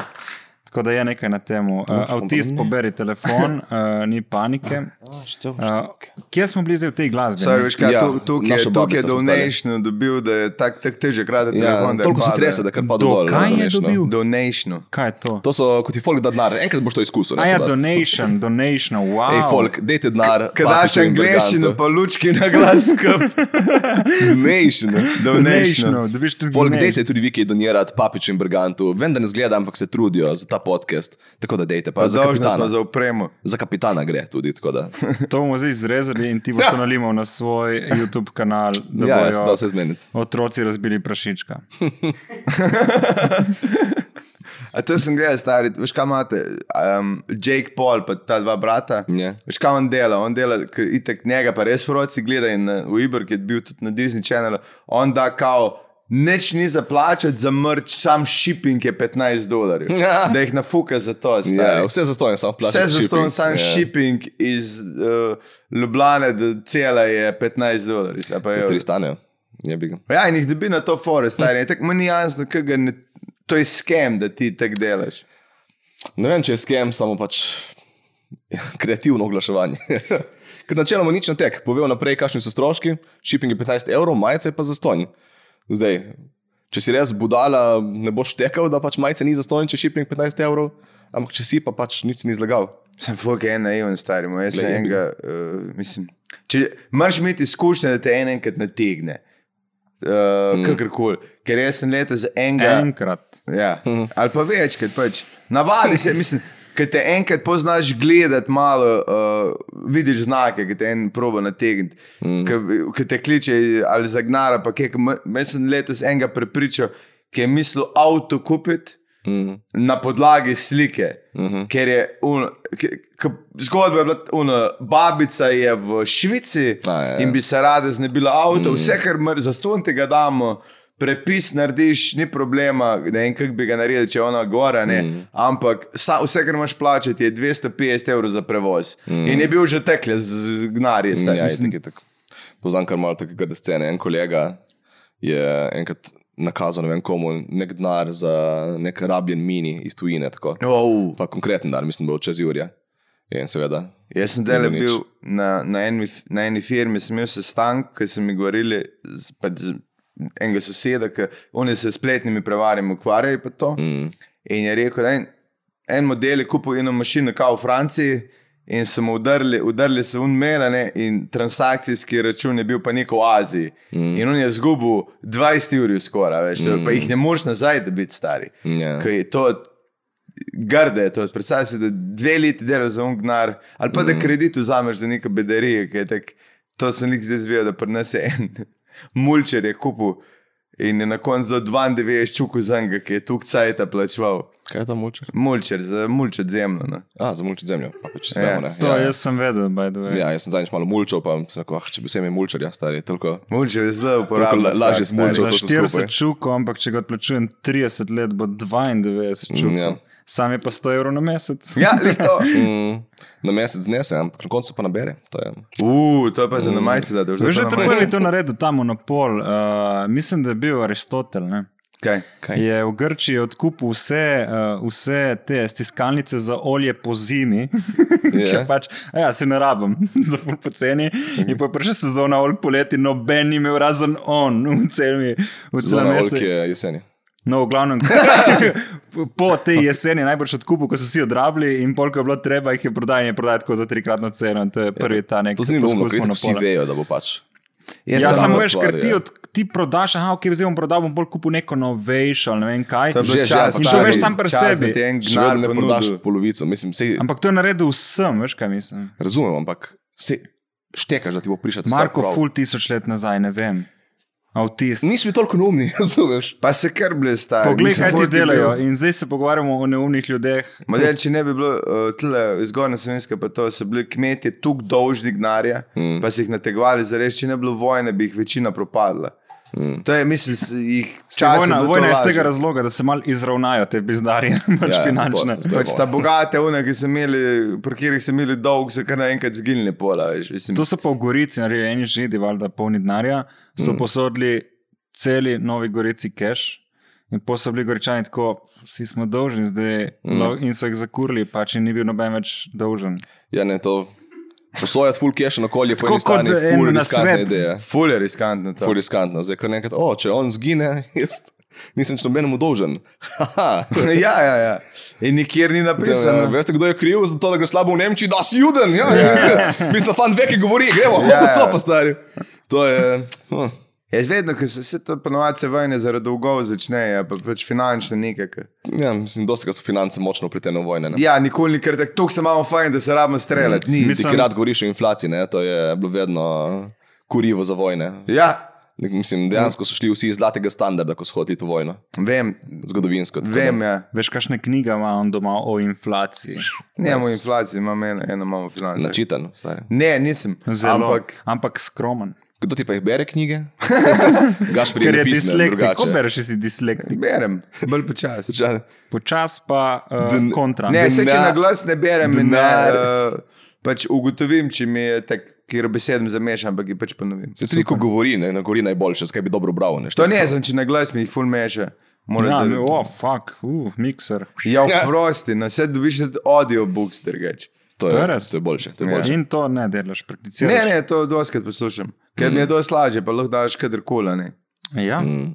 Tako da je nekaj na tem. Uh, avtist, poberi telefon, uh, ni panike.
Ah,
Uh, kje smo bili zdaj v tej glasbi?
Saj,
ne?
veš, kaj,
Ja,
ja, tukaj,
naša
je- tukaj je
babica smo stali.
donation dobil, da je tako tak težje kradeti
Ja,
telefon. da je
toliko se
pade.
trese, da kar pade dol.
Dokaj je
razumeš, no.
dobil?
Donation.
Kaj je to?
To so kot ti folk da denar, enkrat boš to izkusil. ne,
A ja,
seveda.
donation, donation, wow.
Ej, folk, dajte denar.
Kaj daš angliščino, pa lučki na glas skup.
Nation.
Donation.
donation, dobiš tudi
Folk,
donation.
dajte tudi vi, ki donirate papiču in brigantu. Vem, da ne zgleda, ampak se trudijo za ta podcast. Tako da dejte, pa,
Pa
za
dolžni
kapitana.
smo
Za...
za opremo.
za kapitana gre tudi, tako da. Ja,
To bomo zdaj izrezali in ti boš to nalimal na svoj YouTube kanal, da
ja, jaz,
bojo
da vse zmeniti.
otroci razbili prašička.
A to sem gledal, stari, veš kaj imate, um, Jake Paul pa ta dva brata.
Ja.
Veš kaj on dela, on dela, k- itak njega pa res vroci gleda in na- v Ibr, ki je bil tudi na Disney Channelu, on da kao, nič ni za plačati za mrč, sam shipping je 15 dolarjev.
Ja.
Da jih nafuka za to, stari.
Ja, vse za stojno, samo plačati.
Vse za to, sam
Ja.
shipping iz uh, Ljubljana do cela je 15 dolarjev. ali pa
Stvari
evrov.
stanejo. Je bi ga.
Ja, in jih dobi na to fore, stari. Tako meni jasno, kaj ga ne. To je skem, da ti tako delaš.
Ne vem, če je skem, samo pač kreativno oglaševanje. Ker načeloma nič ne tek, povejo naprej, kakšni so stroški, shipping je 15 evrov, majice pa za stojn. Zdaj, če si res budala, ne boš tekel, da pač majice ni za stojn, če shipping 15 evrov, ampak če si pa pač nič ni zlagal.
Sem fuk en naiven star, moj jaz sem
Glej, je
enega, uh, mislim. Če moraš imeti izkušnje, da te en enkrat nategne, uh, mm. kakorkoli. Ker jaz sem letos za enega.
Enkrat.
Ja. Ali pa večkrat, pač. navadi se, mislim. Ker te enkrat poznaš gledati, malo uh, vidiš znake, ki te en proba nategniti, mm. ki te kliče ali zagnara. pa Kaj, jaz sem letos enega prepričal, ki je mislil avto kupiti
Mm.
na podlagi slike, uh
mhm.
-huh. ker je un, k, k, zgodba je bila una, babica je v Švici
A, ja, ja.
in bi se rada znebila avto, mm. vse kar mr, za ston tega damo. Prepis narediš, ni problema, ne vem, kako bi ga naredil, če je ona gora, mm. ampak sa, vse, kar moraš plačati, je 250 evrov za prevoz. Mm. In je bil že tekle, zgnari,
Ja,
zdaj.
je tako, je tako. Poznam kar malo takega da scene. En kolega je enkrat nakazal ne vem komu nek denar za nek rabljen mini iz tujine. Tako.
Oh.
Pa konkreten denar, mislim, da bo čez Jurija. In seveda.
Jaz sem
Ni
delal
bilo
bil
nič.
na, na, eni, f- na eni firmi, sem imel sestanek, ki so mi govorili z, pač z enega soseda, ki oni se s spletnimi prevarami ukvarjajo. pa to.
Mm.
In je rekel, da en, en model je kupil eno mašino, kao v Franciji, in so mu udarili, udarili so unmelane, in transakcijski račun je bil pa neko v Aziji. Mm. In on je izgubil 20 ur, skoraj, veš, mm. pa jih ne moreš nazaj dobiti, stari.
Ja.
Ko je to, grde je to. Predstavljaj si, da dve leti delaš za ungnar, ali pa mm.
Mhm.
da kredit vzameš za neko bedarije. ki je Tak, to sem jih zdaj zvedel, da prenese en mulčer je kupil. In je na koncu do 92 čukov za njega, ki je tu cajt plačeval.
Kaj je tam moče?
Mulčer, za mulčer zemljo. No.
A, za mulčo zemljo, pa pač
Ja,
znamo, ne.
To
ja,
ja. jaz sem vedel, by the way.
Ja, jaz sem zadnjič malo mulčal, pa sem rekel, ah, če bi vse imel mulčar, jaz stari, toliko.
Mulčer je zelo uporaben.
Tako la- lažje
stvar,
z mulčem.
stari.
Za
to so skupaj.
40 čukov, ampak če ga odplačujem 30 let, bo 92 čukov.
ja.
Yeah. Sam je pa 100 evrov na mesec.
Ja, lih to.
Mm, na mesec znese, ampak na koncu pa nabere. To je.
Uu, to je pa za namajce, da je
Veš,
že
da
to
je prvi to naredil ta monopol. Uh, mislim, da je bil Aristotel. Ne?
Kaj?
Kaj?
Je v Grčiji odkupil vse, uh, vse te stiskalnice za olje po zimi, yeah.
Je.
ker pač, "A ja, se ne rabim, za pol poceni. In pa je prišla sezona olj poleti, noben je imel razen on v celem, v celem
Zelo
mestu.
velik je jeseni.
No, v glavnem, po tej jeseni je najbrž odkupil, ko so vsi odrabili in polk je bilo treba, jih je prodajanje prodajati tako za trikratno ceno. In to
Ja,
je prvi ta nek
To se ni razumno,
poskus
ker itak vsi
monopola.
vejo, da bo pač.
Jaz
Ja,
Sama stvar,
samo veš, ker ti,
ja.
od, ti prodaš, aha, ok, zdaj bom prodal, bom bolj kupil neko novejšo ali ne vem kaj.
To je bilo
Že, že,
čas,
ampak
to
stari,
veš sam pri
čas,
sebi.
Da ti je en
Še vedno
gnar
ne prodaš
ponudil.
polovico. Mislim, sej,
Ampak to je naredil vsem, veš kaj mislim.
razumem, ampak se štekaš, da ti bo prišel ta stvar
Marko,
prav.
ful tisoč let nazaj, ne vem. Avtist.
Nisi mi toliko neumni, razumeš?
Pa se krble stari.
Poglej,
mislim,
kaj ti
folk je bil-
delajo in zdaj se pogovarjamo o neumnih ljudeh.
Model, če ne bi bilo uh, tle, zgornja slovenska, pa to so bili kmetje tukaj dolžni gnarja, mm. pa si jih nategovali za res, če ne bi bilo vojne, bi jih večina propadla. Mm. To je, mislim, s- jih časa.
Vojna,
bo to
vojna je iz
lažje.
tega razloga, da se mal izravnajo te bizdarije, pač
Ja,
ja,
ja,
finančne.
zato- zato-
Pač ta bogate une, ki so imeli, pri katerih so imeli dolg, so kar naenkrat zginili pola. Veš, mislim,
To so pa v Gorici naredili eni židi, valjda polni denarja, so mm. posodili celi Novi Gorici cash in posodili goričani tako, vsi smo dolžni zdaj mm. in so jih zakurili, pač in ni bil noben več dolžen.
Ja, ne, to posojati full cache na kolje, po
Tako
eni strani
kot en
full riskantna
nasvet.
ideja.
Ful je riskantno to.
Full riskantna, zdaj ko nekaj, o, če on zgine, jaz nisem še nobenemu dolžen. Haha.
ja, ja, ja. In nikjer ni
Ja, ja,
napisano.
veste, kdo je kriv za to, da gre slabo v Nemčiji, da si juden. Ja, ja. Mislim, fan ve, ki govori, gremo,
Ja, ja.
ja, ja. pa stari. To je. Hm.
Jaz vedno, ko se vse to ponovadi se vojne zaradi dolgov začnejo, pa pač finančno nekaj.
Ja, mislim, dosti krat so finance močno upletene v vojne. ne.
Ja, nikoli ni kar tako, tukaj se imamo fajn, da se rabimo streljati. Ni.
Mislim-
Ti, ki rad govoriš o inflaciji, ne, to je bilo vedno kurivo za vojne.
Ja,
Nek- Mislim, dejansko so šli vsi iz zlatega standarda, ko so hodili v vojno,
vem,
zgodovinsko. tako da-
vem, ja.
Veš, kakšne knjige ima on doma o inflaciji.
Nemamo
Res.
inflacije, imamo eno, eno imamo finance.
Načitan, stari.
Ne, nisem.
Zelo,
Ampak
ampak, ampak skromen.
Kdo ti pa jih bere knjige? Gašpri
Ker
je
je
pismen,
dislektik, ko
drugače.
bereš, si dislektik.
berem, bolj počasi.
Ča-
Počas pa uh,
Dn-
kontra.
Ne, se če
Denar.
na glas ne berem, in,
Denar.
uh, pač ugotovim, če mi je tako, ker besedem zamešam, ampak jih pač ponovim.
Se tudi, ko govori, ne, ne govori najboljše, skaj bi dobro bral. Ne,
To ne, znam, če na glas mi jih ful meša. Mora
Ja,
zdaj-
mi, oh, fuck, uh, mikser.
Ja, prosti, na vse dobiš tudi audio books, drugače.
to,
to je
je,
res.
to je boljše. To je
Ja.
boljše.
In to ne delaš, prakticiraš.
Ne, ne, to doskrat poslušam, ker Ja, pač- mm. mi je dosti lažje, pa lahko daš kadarkoli. ne.
Ja, mm.
Mm.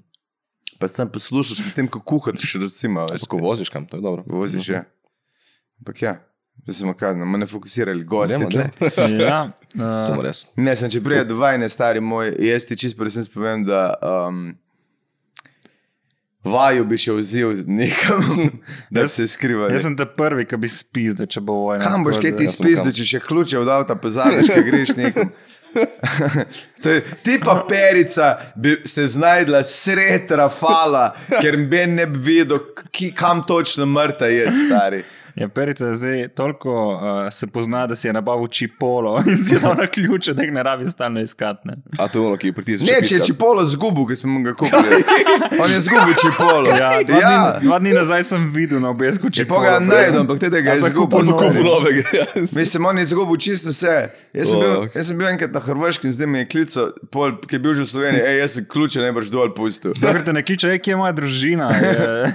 Pa sem poslušal, potem ko kuhaš, recimo, veš,
Ko voziš kam, to je dobro.
voziš. Ja. Ampak ja, zdaj smo kaj, na mene fokusirali, gosti.
Dajmo,
tle.
dajmo.
ja, uh,
Samo res.
Ne, sem če prije do vajne, stari moj, jaz ti čisto resno povem, da um, vaju bi še vzel nekam, da
Jaz-
se skriva.
Jaz sem ta prvi, ki bi spizde, če bo vojna.
Kam boš
Ja, tako
kaj
da-
ti
sem
spizdo,
kam.
če še ključe od avta pozabiš, če greš nekam. To je, ti pa perica bi se znajdla sred Rafala, ker bi ne bi vedel, ki, kam točno mrta je, stari.
Ja, perica je zdaj toliko uh, se pozna, da si je nabavil čipolo in si je dal na ključe, da jih ne rabi stalno iskati. ne.
A to je ono, ki pritisneš.
Ne, če je čipolo zgubil, ki smo ga kupili. On je zgubil čipolo.
Ja, dva, ja. Dni, dva dni nazaj sem videl na obesku čipolo.
Poga najdem, ampak tega je
Ampak
izgubil.
kupil
stari.
novi.
kupu novega. ja, s-
Mislim, on je izgubil čisto vse. Jaz sem,
O,
Oh.
bil,
ok.
jaz sem bil enkrat na Hrvaški in zdaj mi je klical, pol, ki je bil že v Sloveniji, hej, jaz sem ključe najbrž dol pustil.
Dokler Ja, te ne kliče, "Ej, kje je moja družina. Je,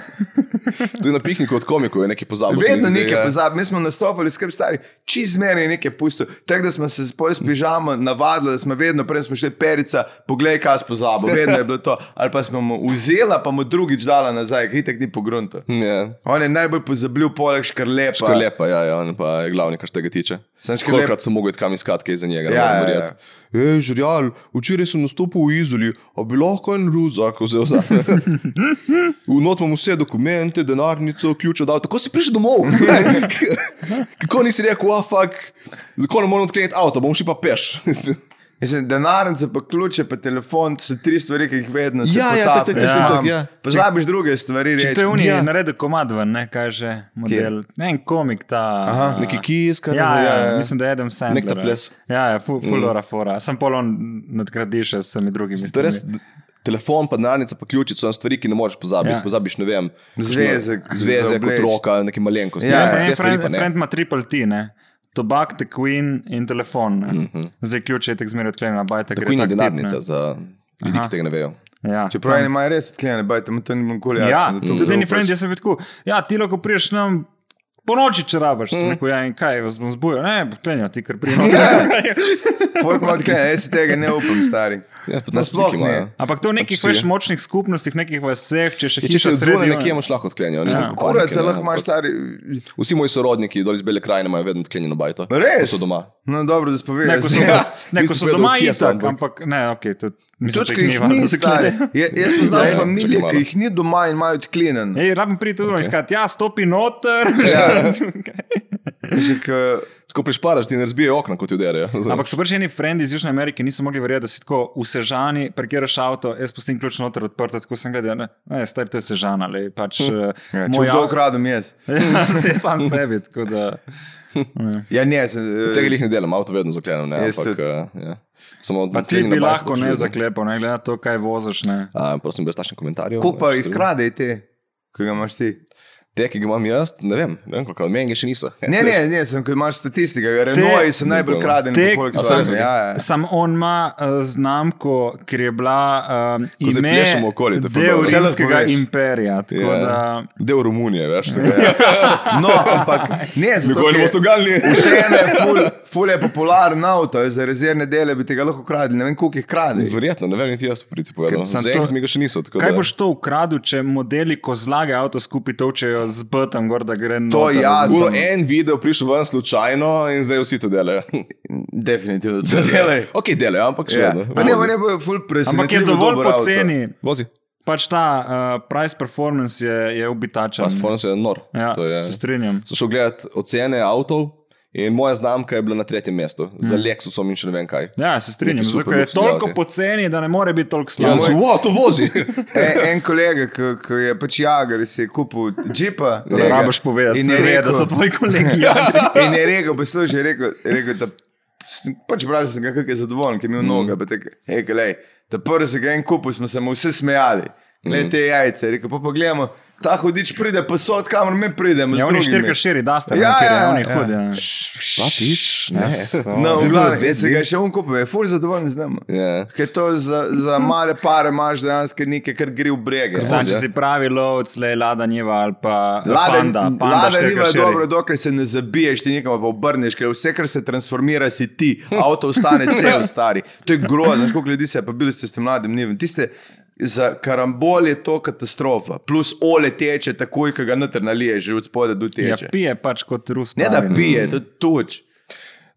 To je na pikniku od komikov, je nekaj pozabil. se mi
Vedno
zdi,
nekaj
ja.
pozabi, mi smo nastopili skrb stari, čez meni je nekaj pusto. Tako da smo se spolj s pižamo navadili, da smo vedno, prej smo šli perica, poglej, kaj smo pozabili, vedno je bilo to. Ali pa smo mu vzela, pa mu drugič dala nazaj, ki tek ni pogrunto.
Ja.
On je najbolj pozabil poleg škrlepa.
Ško lepa, ja, ja, on pa je glavni, kar se tega tiče.
Samo Škrlep-
Kolikrat sem mogel iti kam iskati kaj za njega?
Ja, ja, ja.
Ej, žrjal, včeraj sem nastopil v Izoli, a bi lahko en ruzak vzel za. Vnot imam vse dokumente, denarnico, ključe dal. Tako si prišel domov. stari. Kako nisi rekel, ah, fuck, zakaj ne morem odkleniti avto, bom šel pa peš.
Mislim, denarnice, pa ključe, pa telefon, to so tri stvari, ki jih vedno se
Ja, ja,
potapljaš.
tak, tak, tak,
Imam-
tak, tak, ja.
Pozabiš druge stvari, "Hm,
to je
reči.
unija,
ja.
ja. naredil komad ven, ne kaj že, model. Ne, en komik ta. eh,
Aha,
Neki kis, kar
Ja,
ne,
ja, ja, mislim, da je Adam Sandler.
Nek ta ples.
Ja, ja, fu- fulora mm. fora. Sem polon nadgradi še s vsemi drugimi.
To je res,
stvarmi.
d- telefon, pa denarnica, pa ključi so ena stvari, ki ne moreš pozabiti. Ja.
Ja.
Pozabiš, ne vem, kakšno
Zvezek, za
zvezek
obleči.
otroka, neke malenkosti.
Ja,
Ja,
ja,
ja,
En
te stvari pa
friend,
ne.
friend ima triple T, ne. Tobak, The Queen in telefon. Mm -hmm. Zdaj ključ je tek zmeraj odklenjen, bajta
Tako Mhm. je denarnica za ljudi, ki
Aha.
tega ne vejo.
Ja,
Čeprav eni imajo res odklenjene, bajte, mu to ni nikoli jasno.
ja,
da to
tudi eni
zaupaš.
friend je se tako, ja, ti lahko priješ nam. Po noči, če rabaš,
Mhm.
mm. rekel, ja, in kaj, vas bom zbudil, ne, poklenijo ti, ker prijemo.
Folk ima odklenjene, jaz si tega ne upam, stari.
Ja, tudi
Nasploh
nasploh ima.
ne.
ja.
Ampak to v nekih
Pač si
več
je.
močnih skupnostih, nekih vseh, če še
Ja, Če
hiša
še zunaj
sredi,
nekje imaš lahko odklenjeno.
Ja.
Kurat se lahko imaš, stari.
Vsi moji sorodniki dol iz Bele krajine imajo vedno odklenjeno bajto.
Res?
Ko So doma.
No, dobro, da spovedaj.
ne, ko so,
Ja.
ja, ne, ko
nisem
so
vedel,
doma
kje so,
itak,
ampak-
ampak ne, ok, to mislim,
Tudi,
če
ki jih
važno,
ni,
da se
stari.
klene.
Ja, jaz poznam
Ja, ja.
familije,
Čakaj
ki
malo.
jih ni doma in imajo odklenjene.
Ej, rabim priti tudi okay. iskati, ja, stopi noter.
Ja. Že ko-
Tako prišparaš, ti ne razbijajo okna, kot ti uderejo.
Ampak so prišli neki frendi iz Južne Amerike, niso mogli verjeti, da si tako v Sežani parkiraš avto, jaz pustim ključ noter odprto, tako sem gledal, ne, ne star to je Sežana, le pač
Ja,
eh,
Če
moj
kdo
avto.
ukradem jaz.
Ja, Vse sam sebi, tako da.
Ja, ne, sem, eh,
Tega jih ne delam, avto vedno zaklenem. Ne,
Jaz
ampak,
tudi.
eh, ja. Samo
Pa ti bi lahko ne zaklepal, ne glede na to, kaj voziš. Ne.
A, prosim, brez takšnih komentarjev.
Ko pa
ne,
jih
stvari.
kradej te, ki ga imaš ti.
Te, ki ga imam jaz, ne vem, ne vem koliko, meni ga še niso.
Ne, ne, ne, sem, ko imaš statistike, Renault so najbolj
Ne
kradeni
Te-
po Volkswagenu.
Samo-
Ja, ja.
Sam on ima uh, znamko, ker je bila um,
zdaj
ime
plešemo okoli, te pa
del
dobro.
Vse lahko
rimskega
veš.
imperija. Tako
Ja.
yeah. da
Del Romunije, veš, tako da.
No, ampak ne, zato
Nikoli ne
ker-
boste ugalili.
Vseeno je ful, ful je popularen avto, je, za rezervne dele bi tega lahko kradli, ne vem koliko jih kradli.
Verjetno, ne vem, niti jaz prici povedal.
Ker sem
Zaenkrat mi
to-
ga še niso. tako
Kaj
da-
boš to ukradel, če modeli kozlage avto skupaj točejo z BTM, gor da gre na
To je jasno.
Bo en video prišel ven slučajno in zdaj vsi to delajo.
Definitivno, to delajo.
ok, delajo, ampak še
Ja.
vedno.
Pa ne, pa ne bo ful presenečen.
Ampak je dovolj poceni,
Vozi.
pač ta uh, price performance je, je ubitačen.
Pas Fonos je nor.
Ja,
To je-
se strinjam.
So šel gledati ocene avtov in moja znamka je bila na tretjem mestu.
Hm.
Za Lexusom in še ne vem kaj.
Ja, se strinjam.
Neki super
Zato ker je
luksuz
toliko
avto.
poceni, da ne more biti toliko
Ja,
slabo.
moj... wow, to vozi.
En, E, en kolega, ki- ki je pač jagar, si je kupil džipa.
Ne
tega
rabiš povedati,
in
se
je
ve, da
rekel-
so tvoji kolegi. Ja.
In je rekel, poslušaj, je rekel, je rekel da sem- pač vprašal sem ga, kako je zadovoljen, ker je imel mm. noge. pa tako, "Ej, glej, Ta prvi se ga en kupil, smo se mu vsi smejali. Le te jajce, je rekel, pa pogledamo, ta hudič pride, posod, kamor mi pridemo. z
Ja, on je
drugimi."
4x4, da ste
Ja,
nekje,
ja,
on je
ja.
hud. Ja.
Šlatiš?
Ja,
Ne.
so.
No, v
Zelo
glavnem,
vedno.
se ga je še on kupil, je ful zadovoljen z njim.
Ja.
Ker to za, za male pare imaš dejansko nekaj, kar gre v brege.
Sam, če
ja.
si pravi lovec, le Lada Niva ali pa
Lada,
Panda. Panda
Lada nima
4x4.
dobro, dokler se ne zabiješ, ti nekam pa obrneš, ker vse, kar se transformira, si ti. Avto ostane cel stari. To je grozno, znaš, koliko ljudi se je pa bili s tem mladim nivem. Tiste, za karambol je to katastrofa. Plus ole teče takoj, ko ga noter naliješ, že od spodaj do
Ja,
teče.
pije pač kot Rus.
Ne
pravi,
da pije, to je tuč.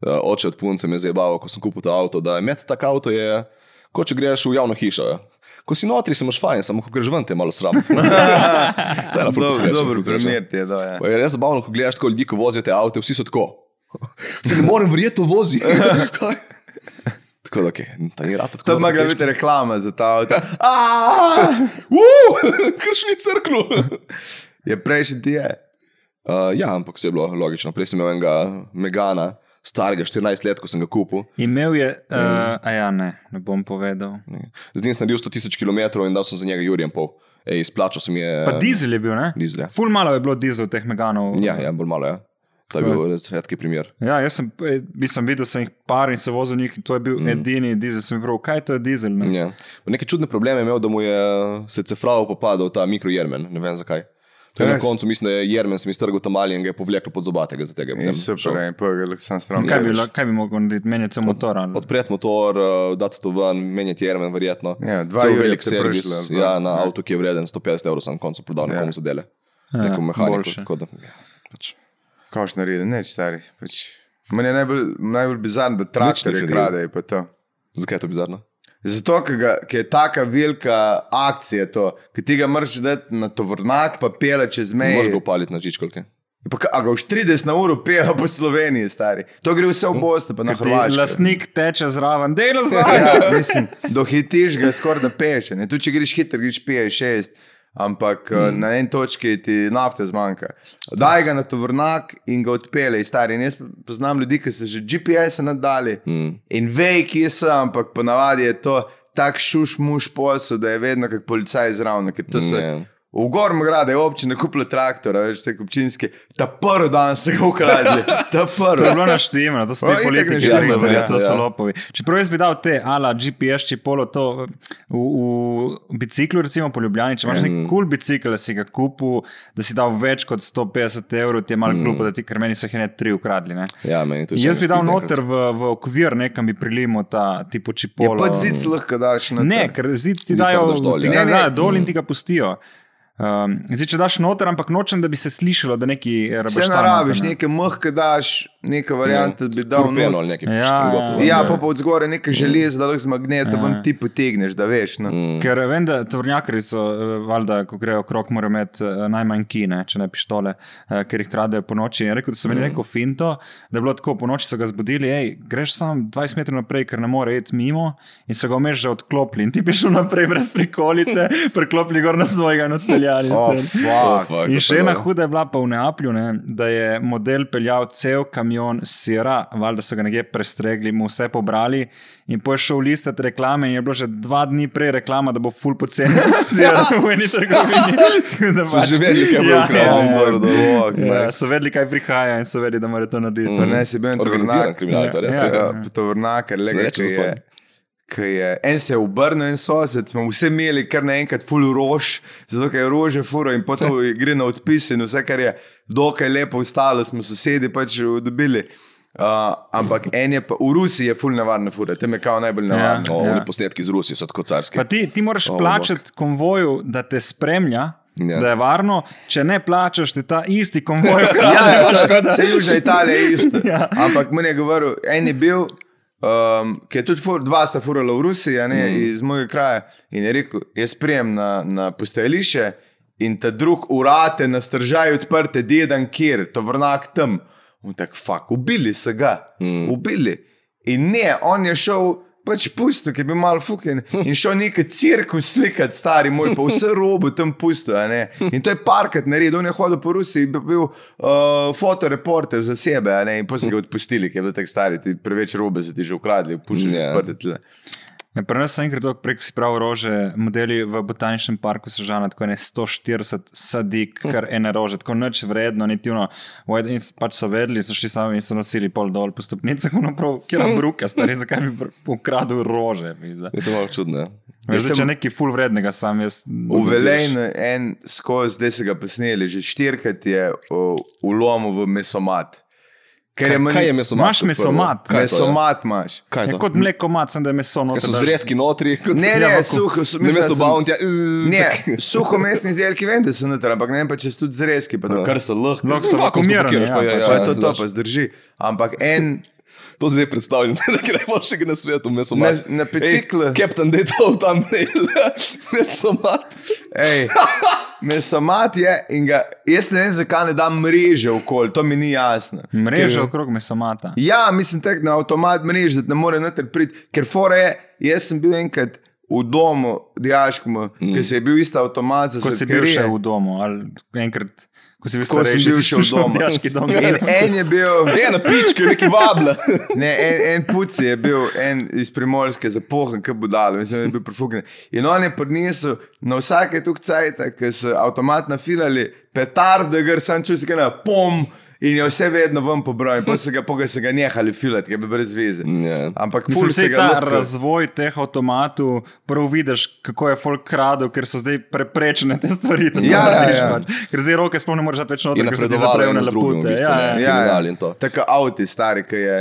Uh, Oče od punce me je zabaval, ko sem kupil ta avto. Da, imeti tak avto je, kot če greš v javno hišo. Ja. Ko si notri, se imaš fajn, samo ko greš ven, te je malo sram. to je na
Dobro, dobro primer ti je. Da, ja.
Pa Je res zabavno, ko gledaš tako ljudi, ko vozijo te avto, vsi so tako. Se ne morem verjeti, to vozi. Kaj? tako da, okay, ta ni rata.
To ima ga biti reklama za ta avto.
Kršni crknu.
Je prejšnji ti je.
Uh, ja, ampak se je bilo logično. Prej sem imel enega Megana, starega 14 let, ko sem ga kupil.
Imel je,
Mm.
uh, a ja ne, ne bom povedal.
Z njim sem naredil 100 tisoč km in dal sem za njega Jurjem pol. Ej, izplačal sem je.
Pa dizel je bil, ne?
Dizel, ja.
Ful malo je bilo dizel teh meganov.
Ja, ja, bolj malo, ja. To je bil res redki primer.
Ja, jaz sem, eh, mislim, videl sem jih par in se vozil njih, in to je bil mm. edini dizel, sem jim prav, kaj to je dizel. Ne?
Mhm. Ja. Neke čudne probleme je imel, da mu je se cefrao popadal ta mikrojermen, ne vem zakaj. To je na
Res?
koncu, mislim, da je jermen sem iztrgal tam ali in ga je povlekel pod zobatega za tega. potem Ja, šel.
Super, pa ga lahko sam strom.
No, Kaj bi, la- kaj bi mogel narediti, menjati se motor ali
Odpreti motor, eh, dati to ven, menjati jermen, verjetno.
Ja, dva
Cel
jurja
velik
te
servis
prišlo, ali pa-
ja, na
ja.
avtu, ki je vreden 150 evrov, sem na koncu prodal
Ja.
nekomu za dele. Neko mehaniko.
Ja, boljše.
tako Da, ja, pač.
Kaj še naredi, neč stari. Pač. Meni je najbolj, najbolj bizarno, da traktorje
naredi.
kradejo. pa to.
Zakaj je to bizarno?
Zato, ker ga- ker je taka velika akcija, to, ki ti ga moraš dati na tovornjak, pa pele čez
Ne moreš ga
meje.
upaliti na žičkolke.
Pa ka- A ga už 30 na uro pele po Sloveniji, stari. To gre vse v Bosni, pa na
kaj.
Hrvaško.
Lastnik teče zraven, delo za.
Ja, mislim, dohitiš ga skoraj da peš. ne. Tudi če greš hitro, greš 5-6, ampak
Hmm.
mm. na en točki ti nafte zmanjka. Daj ga na tovornjak in ga odpele, stari. In jaz poznam ljudi, ki so že GPS-e nadali.
Mm.
Hmm.
In ve, kje sem, ampak ponavadi je to tak šuš muš posel, da je vedno kot policaj zraven. ker to se-
Ne.
V Gormu grade je občina kupila traktor, a veš, vse občinske, ta prvi dan se ga ukradli, ta
To je
prvi.
bilo naštemljeno, to so
O,
ti
itak
politiki,
naštimano,
ja,
verjetno,
to so
ja.
lopovi. Čeprav jaz bi dal te, ala GPS, če polo to v, v biciklu, recimo po Ljubljani, če imaš nek
Mhm.
kul cool bicikl, da si ga kupil, da si dal več kot 150 evrov, ti je
Mhm.
malo glupo, da ti, ker meni so jih ne tri ukradli. Ne?
Ja, meni to je
Jaz
vse
bi dal
izpizdenkrat.
noter v, v okvir, nekam bi prilimo ta tipo
Je
čipolo.
pa zid lahko daš na
Ne, ker zid ti
Zid lahko
dajo
daš dol,
dol, ti
ja.
ga
Ne, ne.
dajo dol in ti ga pustijo. Um, zdaj, če daš noter, ampak nočem, da bi se slišalo, da neki
Vse
rabiš.
narabiš, neke mehke daš, neke variante bi dal.
Kurpeno
not.
ali nekaj.
Ja,
pš,
ja,
gotovo.
Ja, pa pa od zgore nekaj želez, da lahko z magneta
Ja.
ven ti potegneš, da veš. No.
Mm.
Ker vem, da tovornjakari so, eh, valjda, ko grejo krok, morajo imeti eh, najmanj kine, če ne pištole, eh, ker jih kradejo po noči. In rekel, da so imeli neko finto, da je bilo tako, po noči so ga zbudili, hej, greš sam 20 metrov naprej, ker ne more iti mimo in so ga omeš že odklopili. In ti bi šel naprej brez prikolice, preklopili gor na svojega in odpeljali.
Oh,
stran.
fuck.
fuck, to
In še
je
ena
dobro.
huda je bila pa v Neaplju, ne, da je model peljal cel kamion kamion sira, valjda so ga nekje prestregli, mu vse pobrali in po je šel listati reklame in je bilo že dva dni prej reklama, da bo full poceni sir v eni trgovini. Tako da
So
pač-
že vedeli, kaj bo "Oh,
Ja,
ukrali.
ja, ja.
Dobro, dobro,
Ja,
nice.
so vedeli, kaj prihaja in so vedeli, da morajo to narediti.
Mm.
Pa ne si bil en
Organiziran
tovornjak.
kriminal, to res.
Ja, ja.
Tovornjak, le
Srečno
ki je.
zastonj.
ki Je, en se je obrnil, en sosed, smo vsi imeli kar naenkrat full rož, zato ker je rože furo in potem gre na odpis in vse, kar je dokaj lepo ostalo, smo sosedi pač dobili. Uh, ampak en je pa, v Rusiji je full nevarna fura, tam je kao najbolj nevarna.
O,
Ja.
No, oni posnetki iz Rusije so tako carski.
Pa ti, ti moraš
O,
oh,
bog.
plačati konvoju, da te spremlja,
Ja.
yeah. da je varno. Če ne plačaš, ti ta isti konvoj ukrade.
Ja, ja, vse južna Italija je ista. ja. Ampak meni je govoril, en je bil, um, ki je tudi fur, dva sta furala v Rusiji, a ne, mm. iz mojega kraja. In je rekel, jaz prijem na, na postajališče in ta drug urate na stržaju odprte, dedan kjer, tovrnak tam. In tako, fuk, ubili so ga, mm. ubili. In ne, on je šel. Pač pusto, ki je bil malo fucking in šel neki cirkus slikati, stari moj, pa vse robo tam pusto. a ne. In to je parkrat naredil, on je hodil po Rusiji, bil, bil uh, fotoreporter za sebe, a ne, in pa so ga odpustili, ker je bil tako star, ti preveč robe se ti že ukradli, pušili
Ja.
yeah. prdet.
Ja, Pri nas so enkrat dolgo preko si prav rože, modeli v botaničnem parku so žana tako ne 140 sadik, kar ene rože, tako nič vredno, niti uno. Vojde- In s- pač so vedeli, so šli sami in so nosili pol dol po stopnicah, uno prav, kjer je bruka, stari, zakaj bi pr- ukradel rože. pizda.
Je to malo čudno. ja.
Veš, zdaj,
tam-
če nekaj ful vrednega sam jaz.
V Velejnu en skozi, zdaj se ga posneli, že štirikrat je uh, ulomil v mesomat. Ker
Kaj,
meni-
kaj je mesomat?
Imaš
kot prvo?
mesomat?
Kaj je to, ja?
Mesomat imaš.
Kaj je
Je
to?
kot mleko mat, sem da je meso
Ker
noter.
so
daš.
zrezki notri. kot-
Ne,
Ja,
ne,
pa-
suho, su-
Na
mislim,
mesto
da sem-
bounty.
Ne, suho mesni izdelki, vem, da so noter, ampak ne vem pa če so tudi zrezki, pa to, kar so lahko.
Lahko so
Vakuum
vakuumirani,
spakiraš,
ja,
pa je,
pač.
Ja. Pa je to, to
daš.
pa zdrži. Ampak en,
To zdaj predstavljam, da je najboljšega na svetu, mesomat.
Na- na biciklu.
Kapten Detov tam ne, mesomat.
hej, mesomat je in ga, jaz ne vem, zakaj ne dam mreže okoli, to mi ni jasno.
Mreža
Ker-
ja. okrog mesomata.
Ja, mislim, tek na avtomat mrež, da ne more noter priti, ker fora je, jaz sem bil enkrat v domu, diaškem, mm. ki se je bil ista avtomat za
Ko si bil še v domu, ali enkrat, ko si bil
Ko sem
starejši,
bil
si
še v
prišel
domu.
dijaški dom.
In en je bil,
Ne, na pički, neki vabla.
Ne, en, en puci je bil, en iz primorske, zapohan, ki bo dal, mislim, da je bil profugnen. In on je prinesel na vsake tukcajte, ki so avtomatno filali, petarde, gre sam čuti, kaj na pom. In je vse vedno ven pobral, in pa se ga, poga se ga nehali filati, ki je bil brez veze.
Ja.
Ampak
Mislim,
ful se
vse
ga
ta
lahko
razvoj teh avtomatov, prav vidiš, kako je folk kradel, ker so zdaj preprečene te stvari. da to
Ja, ja,
narediš,
ja.
pač. Ker zdaj roke sploh ne moreš dati več
In
noter, ker se ti
napredovalo
zaprejo
eno
na
z drugim v
lapute.
bistvu, ne.
Ja, ja.
kriminal in to.
Tako avto, stari, ki je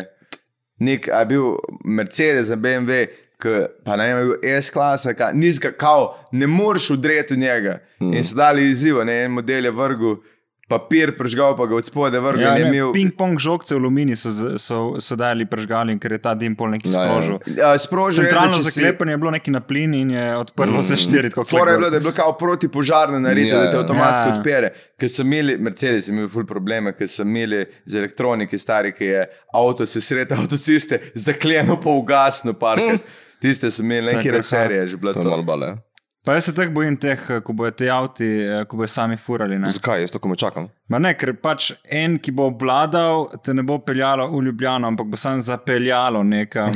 nek, a je bil Mercedes, a BMW, ki, pa ne vem, je bil S-klasa, ka, nizka, kao, ne moreš udreti v njega.
Hmm.
Mm. In so dali izziv, ne en model je vrgel, papir prežgal, pa ga od spode vrgel.
Ja,
in je
ne,
imel,
Ping-pong žogce v Lumini so, z- so, so dali prežgali, ker je ta dim pol
Ja,
neki
ja.
sprožil.
a, sprožil je, da
Centralno
če si- Mm.
zaklepanje je bilo neki na plin in je odprlo vse štiri. tako
Fora je
klik,
bila, da je bilo kao protipožarno narediti,
Ja,
yeah. da te
ja.
avtomatsko
Ja.
yeah. odpere. Ker so imeli, Mercedes je imel ful probleme, ker so imeli z elektroniki stari, ki je avto se sreda avtociste zakleno pa ugasno parkrat. Tiste so imeli
Taka
neke reserije, že bila
To je malo
to.
bale.
Pa jaz se teh bojim, teh, eh, ko bojo ti avti, eh, ko bojo sami furali. Ne?
Zakaj? Jaz to kome čakam.
Ma ne, ker pač en, ki bo obvladal, te ne bo peljalo v Ljubljano, ampak bo sam zapeljalo
Mhm.
nekam.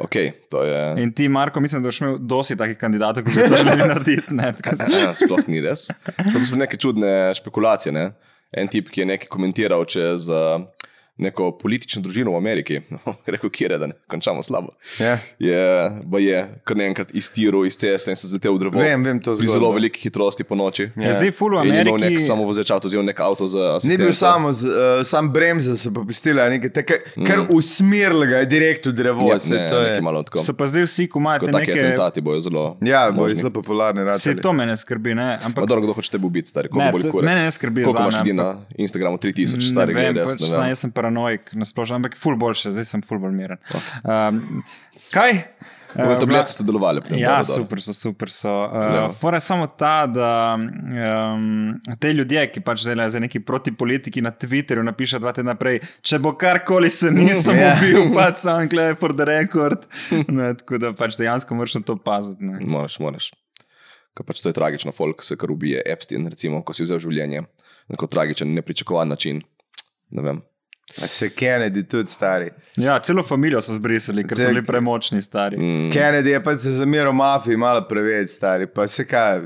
Ok, to je...
In ti, Marko, mislim, da boš imel dosti takih kandidatov, ki bi to želeli narediti. Ne? Tako da-
Sploh ni res. To so neke čudne špekulacije, ne? En tip, ki je nekaj komentiral čez uh, neko politično družino v Ameriki, rekel, kje je, da ne končamo slabo.
Ja.
je, ba je kar naenkrat iztiral iz ceste in se zletel v drevo.
Vem, vem to
Pri
zgodbo.
zelo veliki hitrosti po noči.
Ja, zdaj ful v
In je imel nek
Ameriki-
samo vozačat oziroma nek avto za
Ni
asistenco.
bil samo, z, uh, sam bremze so pa pustila, nekaj, te, kar, kar usmerila ga je direkt v drevo.
Mm. Ja,
saj
ne,
to je-
nekaj malo tako.
So pa zdaj vsi, ko imajo
Tako
te
taki
neke.
atentati bojo zelo...
ja bo je
možni.
zelo popularni rad.
Vse to mene skrbi, ne? ampak
Ma dobro, kdo hoče tebe ubiti, stari, koliko
Ne,
bolj
to-
kurec.
mene ne skrbi
Koliko imaš
zame,
ljudi na Instagramu? 3000, stari, gre
vem,
res.
pač, sam, jaz sem paranoik, nasplošno, ampak ful boljše, zdaj sem ful bolj miren. Um, kaj?
Moje
Eh,
Ja. tablete ste delovali. potem,
Ja,
dobro, dobro.
super so, super so.
Ja.
Uh, Fora je samo ta, da um, te ljudje, ki pač delajo za neki proti politiki na Twitterju, napišejo dva tedna prej, če bo karkoli se nisem
Ja.
yeah. ubil, pač sam gledaj for the record. Ne, tako da pač dejansko moraš na to paziti. Ne.
Moraš, moraš. Ker pač to je tragično, folk se kar ubije, Epstein, recimo, ko si vzel življenje na tako tragičen, nepričakovan način. Ne vem.
A se Kennedy tudi stari.
Ja, celo familijo so zbrisali, ker so
Zdaj-
bili premočni stari.
Mm. Kennedy je pač se zamiral mafiji, malo preveč stari, pa se kaj.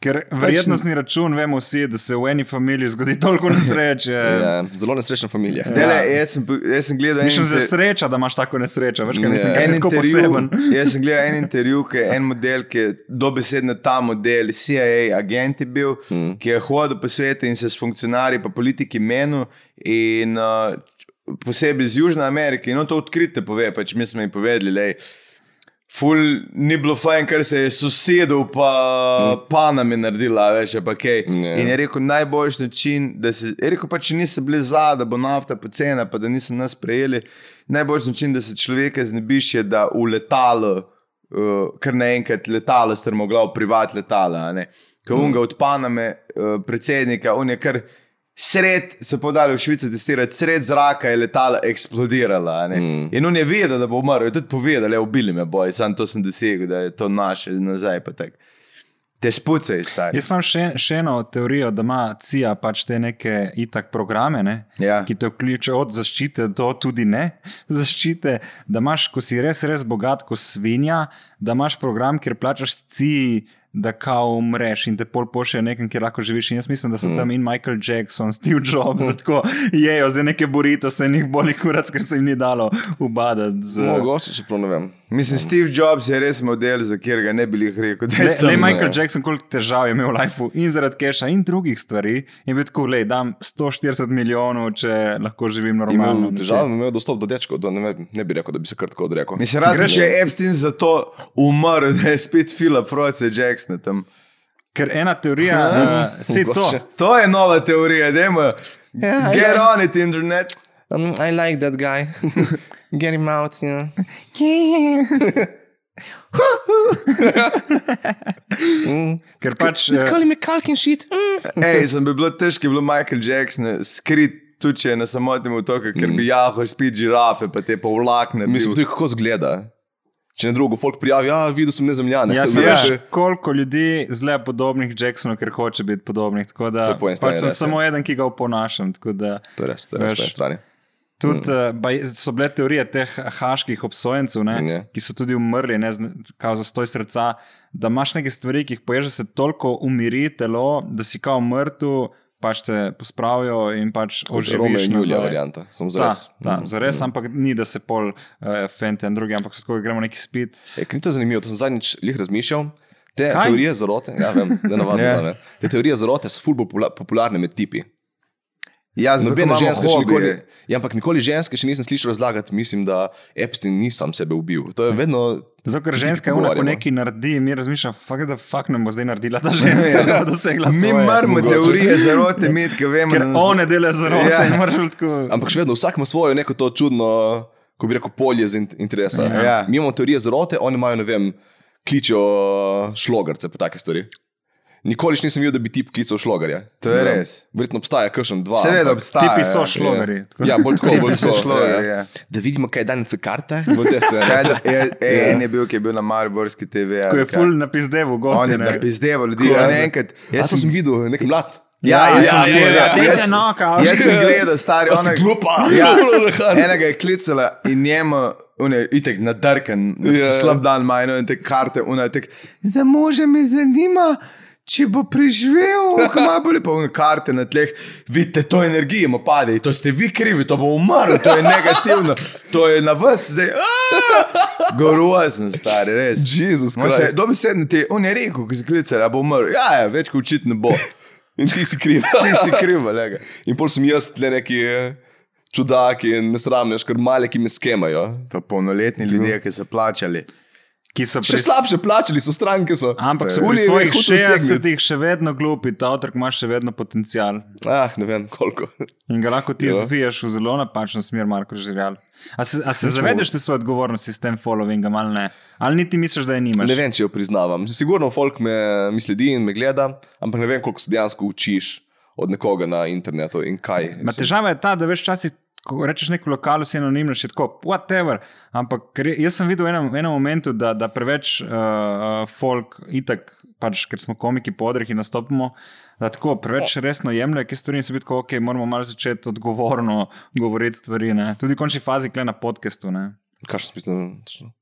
Ker
Pač
verjetnostni račun vemo vsi, da se v eni familiji zgodi toliko nesreče. ja.
Ja, zelo nesrečna familija.
Dele, jaz, sem, po- jaz sem gledal
Mislim, da je
inter-
sreča, da imaš tako nesrečo. Veš, kaj mislim,
Ja.
kaj
en
si tako
intervju.
poseben.
Jaz sem gledal en intervju, ki je en model, ki je dobesedno ta model, CIA agent je bil, mm. ki je hodil po svetu in se s funkcionarji, pa politiki menil. In, uh, posebej iz Južne Amerike, in on to odkrite pove, pač mi smo jim povedali. Lej, Ful ni bilo fajn, ker se je sosedov, pa mm. panami naredila, veš, pa kaj.
Ja.
In je rekel, najboljši način, da se, je rekel pa, če niso bili za, da bo nafta pocena, pa da niso nas prejeli, najboljši način, da se človeka znebiš, je, da v letalo, uh, kar naenkrat letalo, strmoglav, privat letala, a ne. Ko mm. unga od paname, uh, predsednika, on je kar sred, se podali v Švico testirati, sred zraka je letala eksplodirala. Mm. In on je vedel, da bo umrl, je tudi povedal, da je ubili me boj, sam to sem dosegel, da je to naše, nazaj pa tako. Te spucaj, stari.
Jaz imam še, še eno teorijo, da ima CIA pač te neke itak programe, ne,
Ja.
ki te vključujejo od zaščite do tudi ne zaščite. Da imaš, ko si res, res bogat, ko svinja, da imaš program, kjer plačaš CIA. Da, kao umreš in te pol pošiljajo nekam, kjer lahko živiš. In jaz mislim, da so mm. tam in Michael Jackson, Steve Jobs, mm. tako jejo, zdaj neke burito, se njih boli kurac, ker se jim ni dalo ubadati. Z...
Mogoče, čeprav ne vem.
Mislim, Steve Jobs je res model, za katerega ne bi jih rekel, da je
Le,
to.
le Michael Jackson, koliko težav je imel v lifeu in zaradi keša in drugih stvari, je bil tako, le da 140 milijonov, če lahko živim normalno.
Imel težave, imel dostop do dečkov, da ne, vem, ne bi rekel, da bi se kar tako odrekel.
Mislim, razen
Greš-
če je Epstein zato umrl, da je spet Philip Froce Jackson tam.
Ker ena teorija, uh, se to.
mogoče.
To je nova teorija, da ima.
Ja,
Get
ja.
on it, internet.
Um, I like that guy. Get him out, you know.
Eh. Ker pač, eh,
him a Kalkin shit. Mm.
Ej, sem bi bilo težko, je bilo Michael Jackson skrit. Tu če je na samotnem otoku, ker bi jahal spit žirafe, pa te pa vlakne.
Mislim tudi, kako zgleda. Če ne drugo, folk prijavi, ja, videl sem nezemljane.
ja, se
Veš,
veš, koliko ljudi zle podobnih Jacksonu, ker hoče biti podobnih. Tako da
To je po eni strani
pač sem
res, ja.
samo eden, ki ga oponašam. tako da-
To je res, to je res,
Veš.
po eni strani.
Tudi mm. uh, so bile teorije teh haških obsojencev, ne,
Ja.
ki so tudi umrli, ne, z- kao za stoj srca, da imaš neke stvari, ki jih poješ, da se toliko umiri telo, da si kao mrtev, pač te pospravijo in pač
Romeo
oživiš.
in Julija
nazaj.
varianta, mm. samo za
Ta,
res. Mhm,
ta, zares, ampak ni, da se pol uh, fente in drugi, ampak se tako gremo neki spit.
E, kaj ni to zanimivo, to sem zadnjič lih razmišljal. Te
Kaj?
kaj? teorije zarote, ja, vem, da
Ja.
navadno yeah. zame. Te teorije zarote so ful popula- popularne med tipi.
Jaz sem
Nobena
nobena
ženska še nikoli.
ženska.
Ja, ampak nikoli ženske še nisem slišal razlagati, mislim, da Epstein ni sam sebe ubil. To je vedno.
Zato, ker
se ti
ženska unako
pogovarjamo.
nekaj naredi, mi razmišljamo, fuck, da fuck nam bo zdaj naredila
Ja.
ta ženska, da bo dosegla
Mi
svoje.
marmo
Mogoče.
teorije zarote, mi ki vemo,
Ker
da nas-
one dele zarote
Ja.
ja. in moraš biti tako.
Ampak še vedno vsak ima svoje neko to čudno, ko bi rekel, polje z in- interesa.
Ja.
Mi imamo teorije zarote, oni imajo, ne vem, kličijo šlogarce pa take stvari. Nikoli še nisem videl, da bi tip klical šlogarja.
To je
Ne vem.
res.
Verjetno obstaja kakšen dva.
Seveda
ampak-
obstaja.
Tipi so
ja.
šlo. šlogarji, tako.
Ja, bolj tako,
Tipi
bolj
so
tako.
šlogarji, ja.
Da vidimo, kaj je danes v kartah. bo te se-
Kaj da- e- e- En je bil, ki je bil na Mariborski TV. ali
Ko je
kaj.
ful napizdev,
On
gosti.
je
ne.
napizdeval ljudi.
Ko-
a ne enkrat-
Jaz
Jaz
sem,
sem
sem videl, nek mlad.
Ja, jaz sem
ja,
gledal.
ja.
jaz-
Dajte no, kao.
Jaz sem gledal, stari
Ja, ste
onak.
glupa.
Ja,
Lahko.
enega je klicala in njemu, on je itek nadrkan,
Ja.
yeah. slab dan ima eno in te karte, ona je tek, za može me zanima. Če bo preživel, ko ima bolj polne karte na tleh, vidite to energijo, mu pade, to ste vi krivi, to bo umrl, to je negativno, to je na vas zdaj. Gorozen, stari, res.
Jezus
On se-
Krist.
Dobesedno ti je, on je rekel, ko si klical, da bo umrl. Ja, ja več kot očitno bo.
In ti si kriv.
Ti si kriv, lega.
In pol sem jaz tle neki eh, čudak in nesramnež, ker male, ki me skemajo.
To polnoletni ljudje, ki so plačali.
Ki so
Še
pri...
slabše plačali so stranke. So.
Ampak so
Ulje
pri
je
svojih
hotel odtegniti.
60-ih še vedno glupi, ta otrok ima še vedno potencial.
Ah, ne vem koliko.
In ga lahko ti
Ja.
zviješ v zelo napačno smer, Marko Žirjal. A se, a se zavedaš te svoje odgovornosti s tem followingom ali ne? Ali niti misliš, da je nimaš?
Ne vem, če jo priznavam. Sigurno folk me, me sledi in me gleda, ampak ne vem, koliko se dejansko učiš od nekoga na internetu in kaj.
Ma težava je ta, da veš, včasih Ko rečeš neko lokalno, si anonimno, še tako, whatever. Ampak ker je- jaz sem videl v enem, v enem momentu, da, da preveč uh, folk, itak, pač, ker smo komiki po odrih in nastopimo, da tako preveč resno jemlje, ki stvari in se vidi, ok, moramo malo začeti odgovorno govoriti stvari. Ne? Tudi v končni fazi, kle na podkastu. ne.
Kaj še smisel? točno?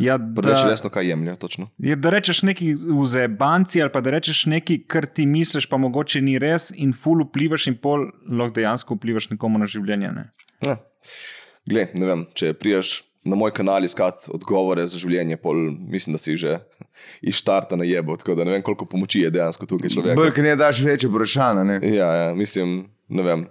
Ja,
Preveč
da-
resno, kaj jemlje, točno.
Je, da rečeš neki vzebanci ali pa da rečeš nekaj, kar ti misliš, pa mogoče ni res, in ful vplivaš, in pol lahko dejansko vplivaš nekomu na življenje. Ne?
Ja. Glej, ne vem, če priješ na moj kanal iskati odgovore za življenje, pol mislim, da si že iz starta na jebo, tako da ne vem, koliko pomoči je dejansko tukaj človek.
Brk ne daš več vprašanja, ne?
Ja, ja, mislim, ne vem.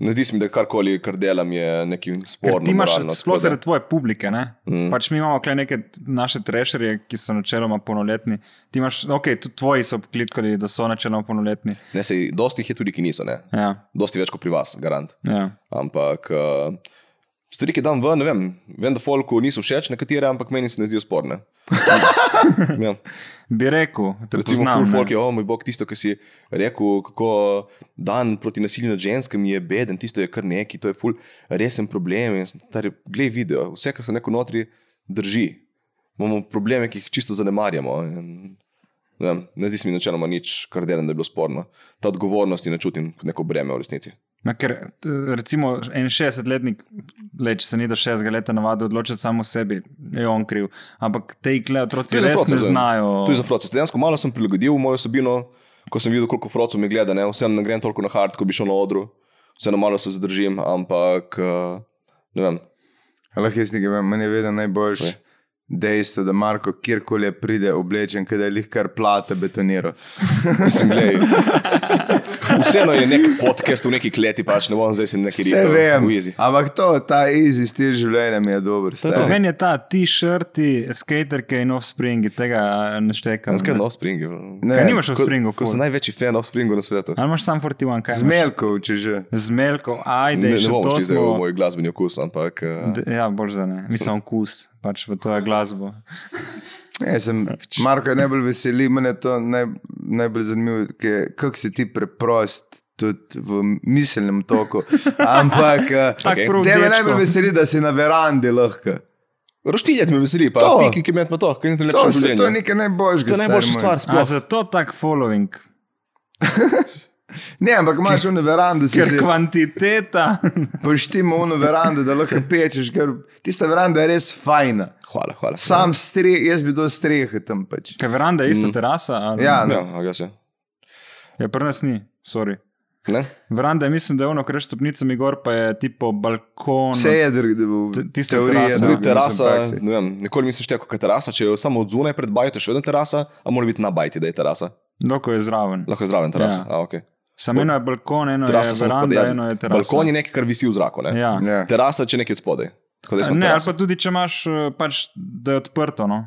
Ne zdi se mi, da karkoli, kar delam, je neki
Ker
sporno.
ti imaš
moralno, tako
sploh
da-
zaradi tvoje publike. Ne? Mm. Pač mi imamo tukaj neke naše trešerje, ki so načeloma polnoletni. Ti imaš, ok, tudi tvoji so klitkali, da so načeloma polnoletni.
Ne, sej, dosti jih je tudi, ki niso, ne.
Ja,
Dosti več kot pri vas, garant.
ja.
Ampak uh, stvari, ki dam ven, ne vem, vem, da folku niso všeč nekatere, ampak meni se ne zdijo sporne. ja.
Bi rekel, da
Recimo,
poznam.
full
ne.
folk je, o moj bog, tisto, ki si rekel, kako dan proti nasilju nad ženskami je beden, tisto je kar neki, to je full resen problem. In sem Stari, glej video, vse, kar se neko notri drži. Imamo probleme, ki jih čisto zanemarjamo. In, ne, vem, ne zdi se mi načeloma nič, kar delam, da je bilo sporno. Ta odgovornost in ne čutim kot neko breme v resnici.
Ma, ker, t- recimo, en 60-letnik, le, če se ni do 60 let navadil odločiti samo o sebi, je on kriv. Ampak te ikle otroci res ne znajo.
Tu je za proces. Dejansko malo sem prilagodil mojo vsebino, ko sem videl, koliko frocov mi gleda. Ne? Vseeno ne grem toliko na hard, ko bi šel na odru, vseeno malo se zadržim, ampak eh, ne vem.
Lahko jaz nekaj vem, meni je vedno najboljši. Dejstvo, da Marko kjerkoli je pride oblečen, kaj da je lih kar plate betoniral.
Mislim, glej, vseeno je nek podcast v neki kleti, pač ne bom zdaj si neki
Vse vem,
Uizi.
ampak to, ta easy stil življenja mi je dober.
je
stari.
to.
Meni je ta t-shirti, skaterke in offspringi, tega eh, ne štekam.
Kaj je na Offspringu?
Ne,
Kaj nimaš
Ko-
offspringu?
Ko sem največji fan Offspringa na svetu.
Ali imaš sam 41, kaj? imaš?
Zmelkov, če že.
Zmelko, ajde,
Ne, ne
še
bom
to
šli zdaj v
smo.
moj glasbeni okus, ampak eh,
D- Ja, bož za ne. Mislim, okus, pač v
Ah.
to je glasbo.
Ne, sem,
Ja, pač.
Marko je najbolj veseli, meni je to naj, najbolj zanimivo, ke- kako si ti preprost. Tudi v miselnem toku. Ampak,
Tak
eh,
prav
tebe
dečko.
najbolj veseli, da si na verandi lahko.
roštiljet me veseli, pa
To.
piki, ki me je pa to, kaj je najlepše
To,
v
se, to je
življenju.
nekaj najboljšega.
To je
stari
najboljša
moj.
stvar
A
sploh.
zato tak following?
Ne, ampak imaš v verandi, si
Ker
si
kvantiteta.
poštimo v verandi, da lahko pečeš. Ker tista veranda je res fajna.
Hvala, hvala.
Sam streh, jaz bi do strehe tam pač.
Ker veranda je ista terasa, ali
Ja,
Mm. Ja, a jaz je.
ja pri nas ni, sorry.
Ne?
Veranda, je, mislim, da je ono, kar je stopnica mi gor, pa je tipo balkon.
Vse je, da bo
T- tista
teorija. druga,
terasa.
Tudi
mislim,
terasa,
praksi.
ne vem, nikoli nisem štel kot terasa, če je samo od zunaj pred bajto, še vedno terasa, a mora biti na bajti, da je terasa.
Doko je zraven.
Lahko je zraven terasa.
Ja.
Ja. A, okay.
Samo eno je balkon, eno
Terasa
je
samo
veranda,
spodaj, ja.
eno je terasa.
Balkon je nekaj, kar visi v zraku. Ne?
Ja.
Ja.
Terasa, če nekaj od spodaj. Tako da jaz imam
Ne, ali
teraso.
pa tudi, če imaš, eh, pač, da je odprto. No?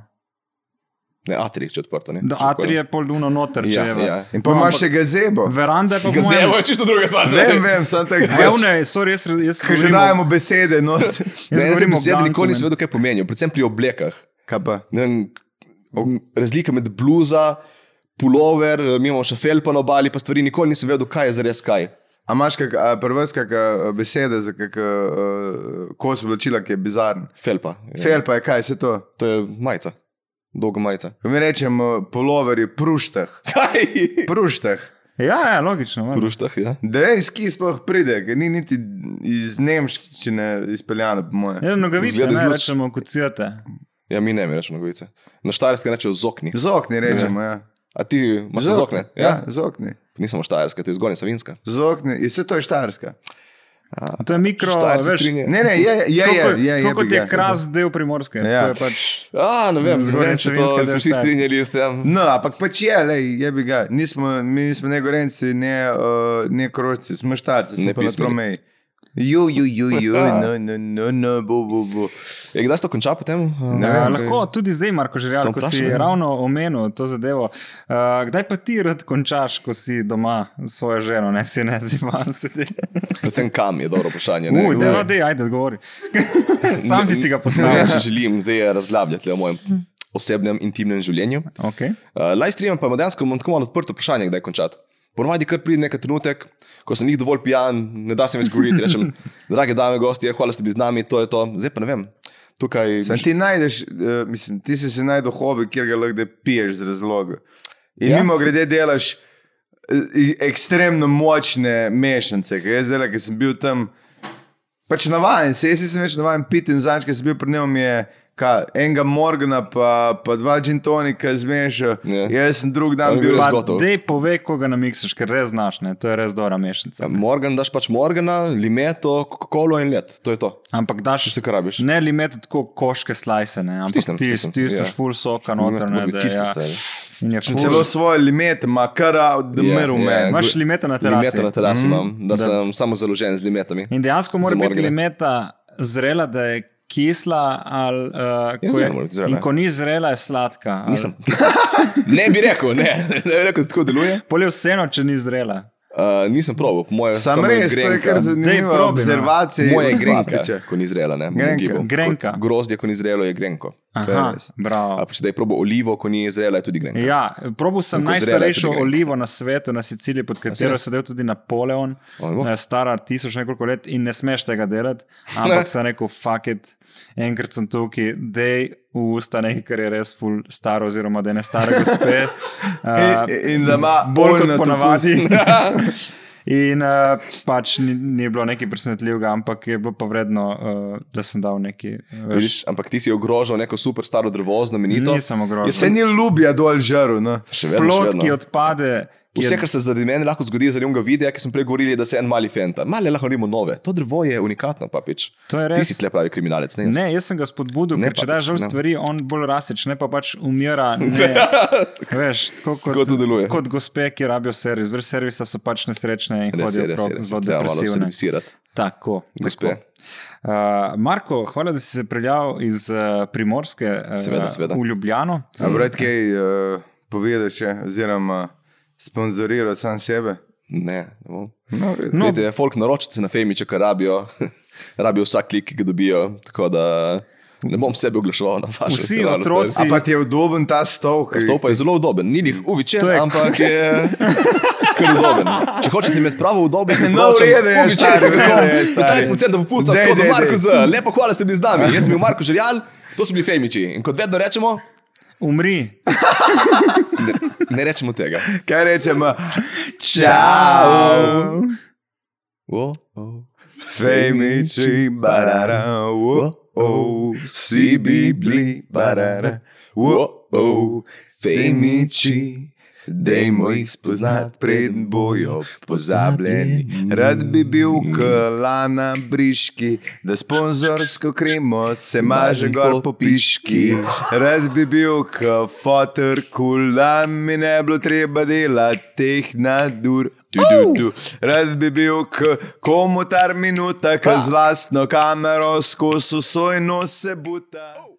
Ne, atrij, če je odprto. Ne?
Da,
Če
atri je pol duno noter, če
Ja,
je.
ja.
In pa
No,
imaš
ampak
še gazebo.
Veranda je pa
Gazevo
moja.
je čisto druga stvar.
Vem, vem, sem tako
Ja,
pač,
Evne, sorry, jaz, jaz
Ker že
govorim o-
dajemo besede, no.
jaz
Jaz ne
govorim o
vem, sebi
ganku,
nikoli
ne.
nisem vedel, kaj pomenijo, predvsem pri oblekah.
Kaj pa?
Ne Vem, razlika med bluza, pulover, mi imamo še felpa na obali, pa stvari nikoli nisem vedel, kaj je zares kaj.
A imaš kak, a pri vas kak a, besede za kak uh, kos oblačila, ki je bizaren?
Felpa. je-
Ja.
Fel pa je kaj, se to.
To je majica, dolga majica.
Ko mi rečemo poloverji, pruštah.
Kaj?
Pruštah.
Ja, ja, logično. valjda.
Pruštah, ja.
Dejanski sploh pride, ker ni niti iz nemščine izpeljano, po mojem.
Ja, nogavice,
Izgleda
ne
zelo-
rečemo, kocirate.
Ja, mi ne, mi rečemo nogavice. Na štajerskem rečejo zokni.
Zokni rečemo, ja.
A ti imaš
Zok-
zokne? Ja?
Ja,
ja.
zokni.
Nisem štajerska, to je zgornja savinska.
Zokni, je vse to je štajerska.
To je mikro,
Štajerci
veš,
strinjajo.
Ne, ne, je, je, je,
Ja.
Ja,
tako kot-
je, je,
tako kot
bi
je
ga.
kras del primorske.
Ja.
tako je Pač,
A, ne vem,
Zgornja
zgornja
Savinjska,
savinska,
da
se
je
vsi
Štajerska.
strinjali s tem.
No, ampak pač je, lej, je bi ga. Nismo, mi nismo ne gorenci, ne, uh, ne krožci, smo štarci, ne
Ne
pa
pismeni.
promeji. Ju, ju, ju, ju, no, no, no, no, bo, bo, bo.
Je kdaj se to konča potem?
Ne
ja,
vem,
lahko tudi zdaj, Marko Žirjal,
Sem
ko si
vprašal, ja.
ravno omenil to zadevo. Uh, kdaj pa ti rad končaš, ko si doma s svojo ženo, ne si ne zivan sedi?
Predvsem kam je dobro vprašanje. ne?
Uj, da, no, dej, ajde, odgovori. Sam si si ga
Ne
postavil.
vem, če želim zdaj razglabljati le o mojem osebnem, intimnem življenju.
Okay.
Eh, Uh, live stream pa ima dejansko imam tako malo odprto vprašanje, kdaj končati. Ponovadi kar pride nek trenutek, ko sem jih dovolj pijan, ne da se več govoriti. Rečem, drage dame, gostje, hvala, da ste bili z nami, to je to. Zdaj pa ne vem. Tukaj,
Sam ti najdeš, eh, mislim, ti si se najdel hobi, kjer ga lahko piješ z razlogom. In
Ja.
ja. mimo grede delaš eh, i- ekstremno močne mešanice. ker Jaz zdaj, ki sem bil tam, pač navaden, se jaz nisem več navaden piti in zanj, ki sem bil pri njem, mi je ka, enega Morgana, pa, pa dva džintonika zmešal.
Ja.
Jaz sem drug dan
Ja,
bil.
res
Pa-
Pa
zgotov.
dej pove, koga namiksaš, ker res znaš, ne? to je res dobra mešanica.
ja, Morgan daš pač Morgana, limeto, kolo in let. To je to.
Ampak daš
Vse, kar rabiš.
Pač Ne, ali imeti tako koške slajse, ne, ampak
Stisnem,
stisnem, ti
stisnem,
stisneš
ja.
ja. full soka
Moram
noter,
imeti
ne, da je,
kisle
ja.
stvari.
In je
Sem celo
full.
svoje limete, ma kar out the
Ja,
yeah, middle,
ja,
yeah. man.
Imaš limeta na terasi.
Limeta na terasi imam, mm, da, da
Da.
sem samo založen z limetami.
In dejansko mora
Za
biti
morgane.
limeta zrela, da je kisla, ali,
Ja,
uh, ko
zrela
je,
mora biti zrela, ja.
in ko ni zrela, je sladka. ali-
Nisem. ne bi rekel, ne, ne bi rekel, da tako deluje.
Pol je vseeno, če ni zrela.
Uh, nisem probil, po moje.
Sam
samo je
res, to je
grenka.
kar zanimiva
probi, no.
observacija.
Moje je
od
grenka,
Papiča.
ko ni zrela. Ne,
Grenka.
Grenka.
Grozdje, ko ni zrelo, je grenko. To je
Aha,
res.
bravo.
Ali pa če da je probo olivo, ko ni zrela, je tudi grenka.
Ja, probil sem
Kako zrela je
najstarejšo
tudi grenka.
olivo na svetu, na Siciliji, pod katero je
res?
sedel tudi Napoleon,
Ojvo.
eh, stara tisoč nekoliko let in ne smeš tega delati. Ampak sem rekel, fuck it, enkrat sem tukaj, dej v usta nekaj, kar je res ful staro, oziroma da je ne stare gospe. eh,
In, in da ima
bolj
oljnat
kot
okus.
ponavadi. In uh, pač ni, ni bilo nekaj presenetljivega, ampak je bilo pa vredno, uh, da sem dal neki. eh,
Vidiš, ampak ti si ogrožal neko super staro drevo, znamenito.
Nisem ogrožen.
Jaz
Se ni ljubja dol žaru. No.
Še vedno, še
Plot,
vedno.
ki odpade. ki je-
Vse, kar se zaradi mene lahko zgodi, je zaradi onega videa, ki sem prej govoril, da se en mali fanta. Male lahko naredimo nove. To drevo je unikatno, papič.
To je
Ti
res.
si tle pravi kriminalec, ne? jaz.
Ne, jaz sem ga spodbudil,
Ne,
ker če
pa-
daš žal
ne. Ja.
stvari, on bolj rasteč, ne pa pač umira. Ne, veš, tako kot,
Tako to deluje.
kot gospe, ki rabijo servis. Brez servisa so pač nesrečne in
Res je,
hodijo
res je.
prav
Res je.
zelo
Treba malo
depresivne.
servisirati.
Tako,
Gospe.
tako. Uh, Marko, hvala, da si se pripeljal iz uh, Primorske uh,
Seveda, seveda.
v Ljubljano.
A brat, kaj uh, povedaš, še, oziroma sponzoriral sam sebe?
Ne, ne bom.
No, v redu.
No.
No. Vidite, folk naročnice na Femi, če kar rabijo, rabijo vsak klik, ki ga dobijo. Tako da ne bom sebe oglaševal na vašem
Vsi
kanalu,
otroci-
A
stari.
pa ti je udoben ta stol, ki
Stol pa je zelo udoben, ni jih uvičen,
To je-
ampak je kar udoben. Če hočete imeti pravo udoben, ne
No, v redu je, stari, v redu je, stari.
15% popusta s
Dej,
kodom
dej, dej.
Marko Z. Lepo hvala, da ste bili z nami. Jaz sem bil Marko Žerjal, to so bili Femiči. In kot vedno rečemo,
Umri.
ne rečemo tega.
Kaj rečemo? Čau!
O, o.
Femiči, barara, wo, o, vsi bi bili, barara, wo, o, femiči. Dajmo jih spoznati, preden bojo pozabljeni. Rad bi bil klana briški, da sponzorsko kremo se maže gor po piški. Rad bi bil kafotor kula, mi ne bilo treba delati teh nadur. Tu, tu, tu. Rad bi bil k komutar minuta, k z lastno kamero skozi svoj nos se buta.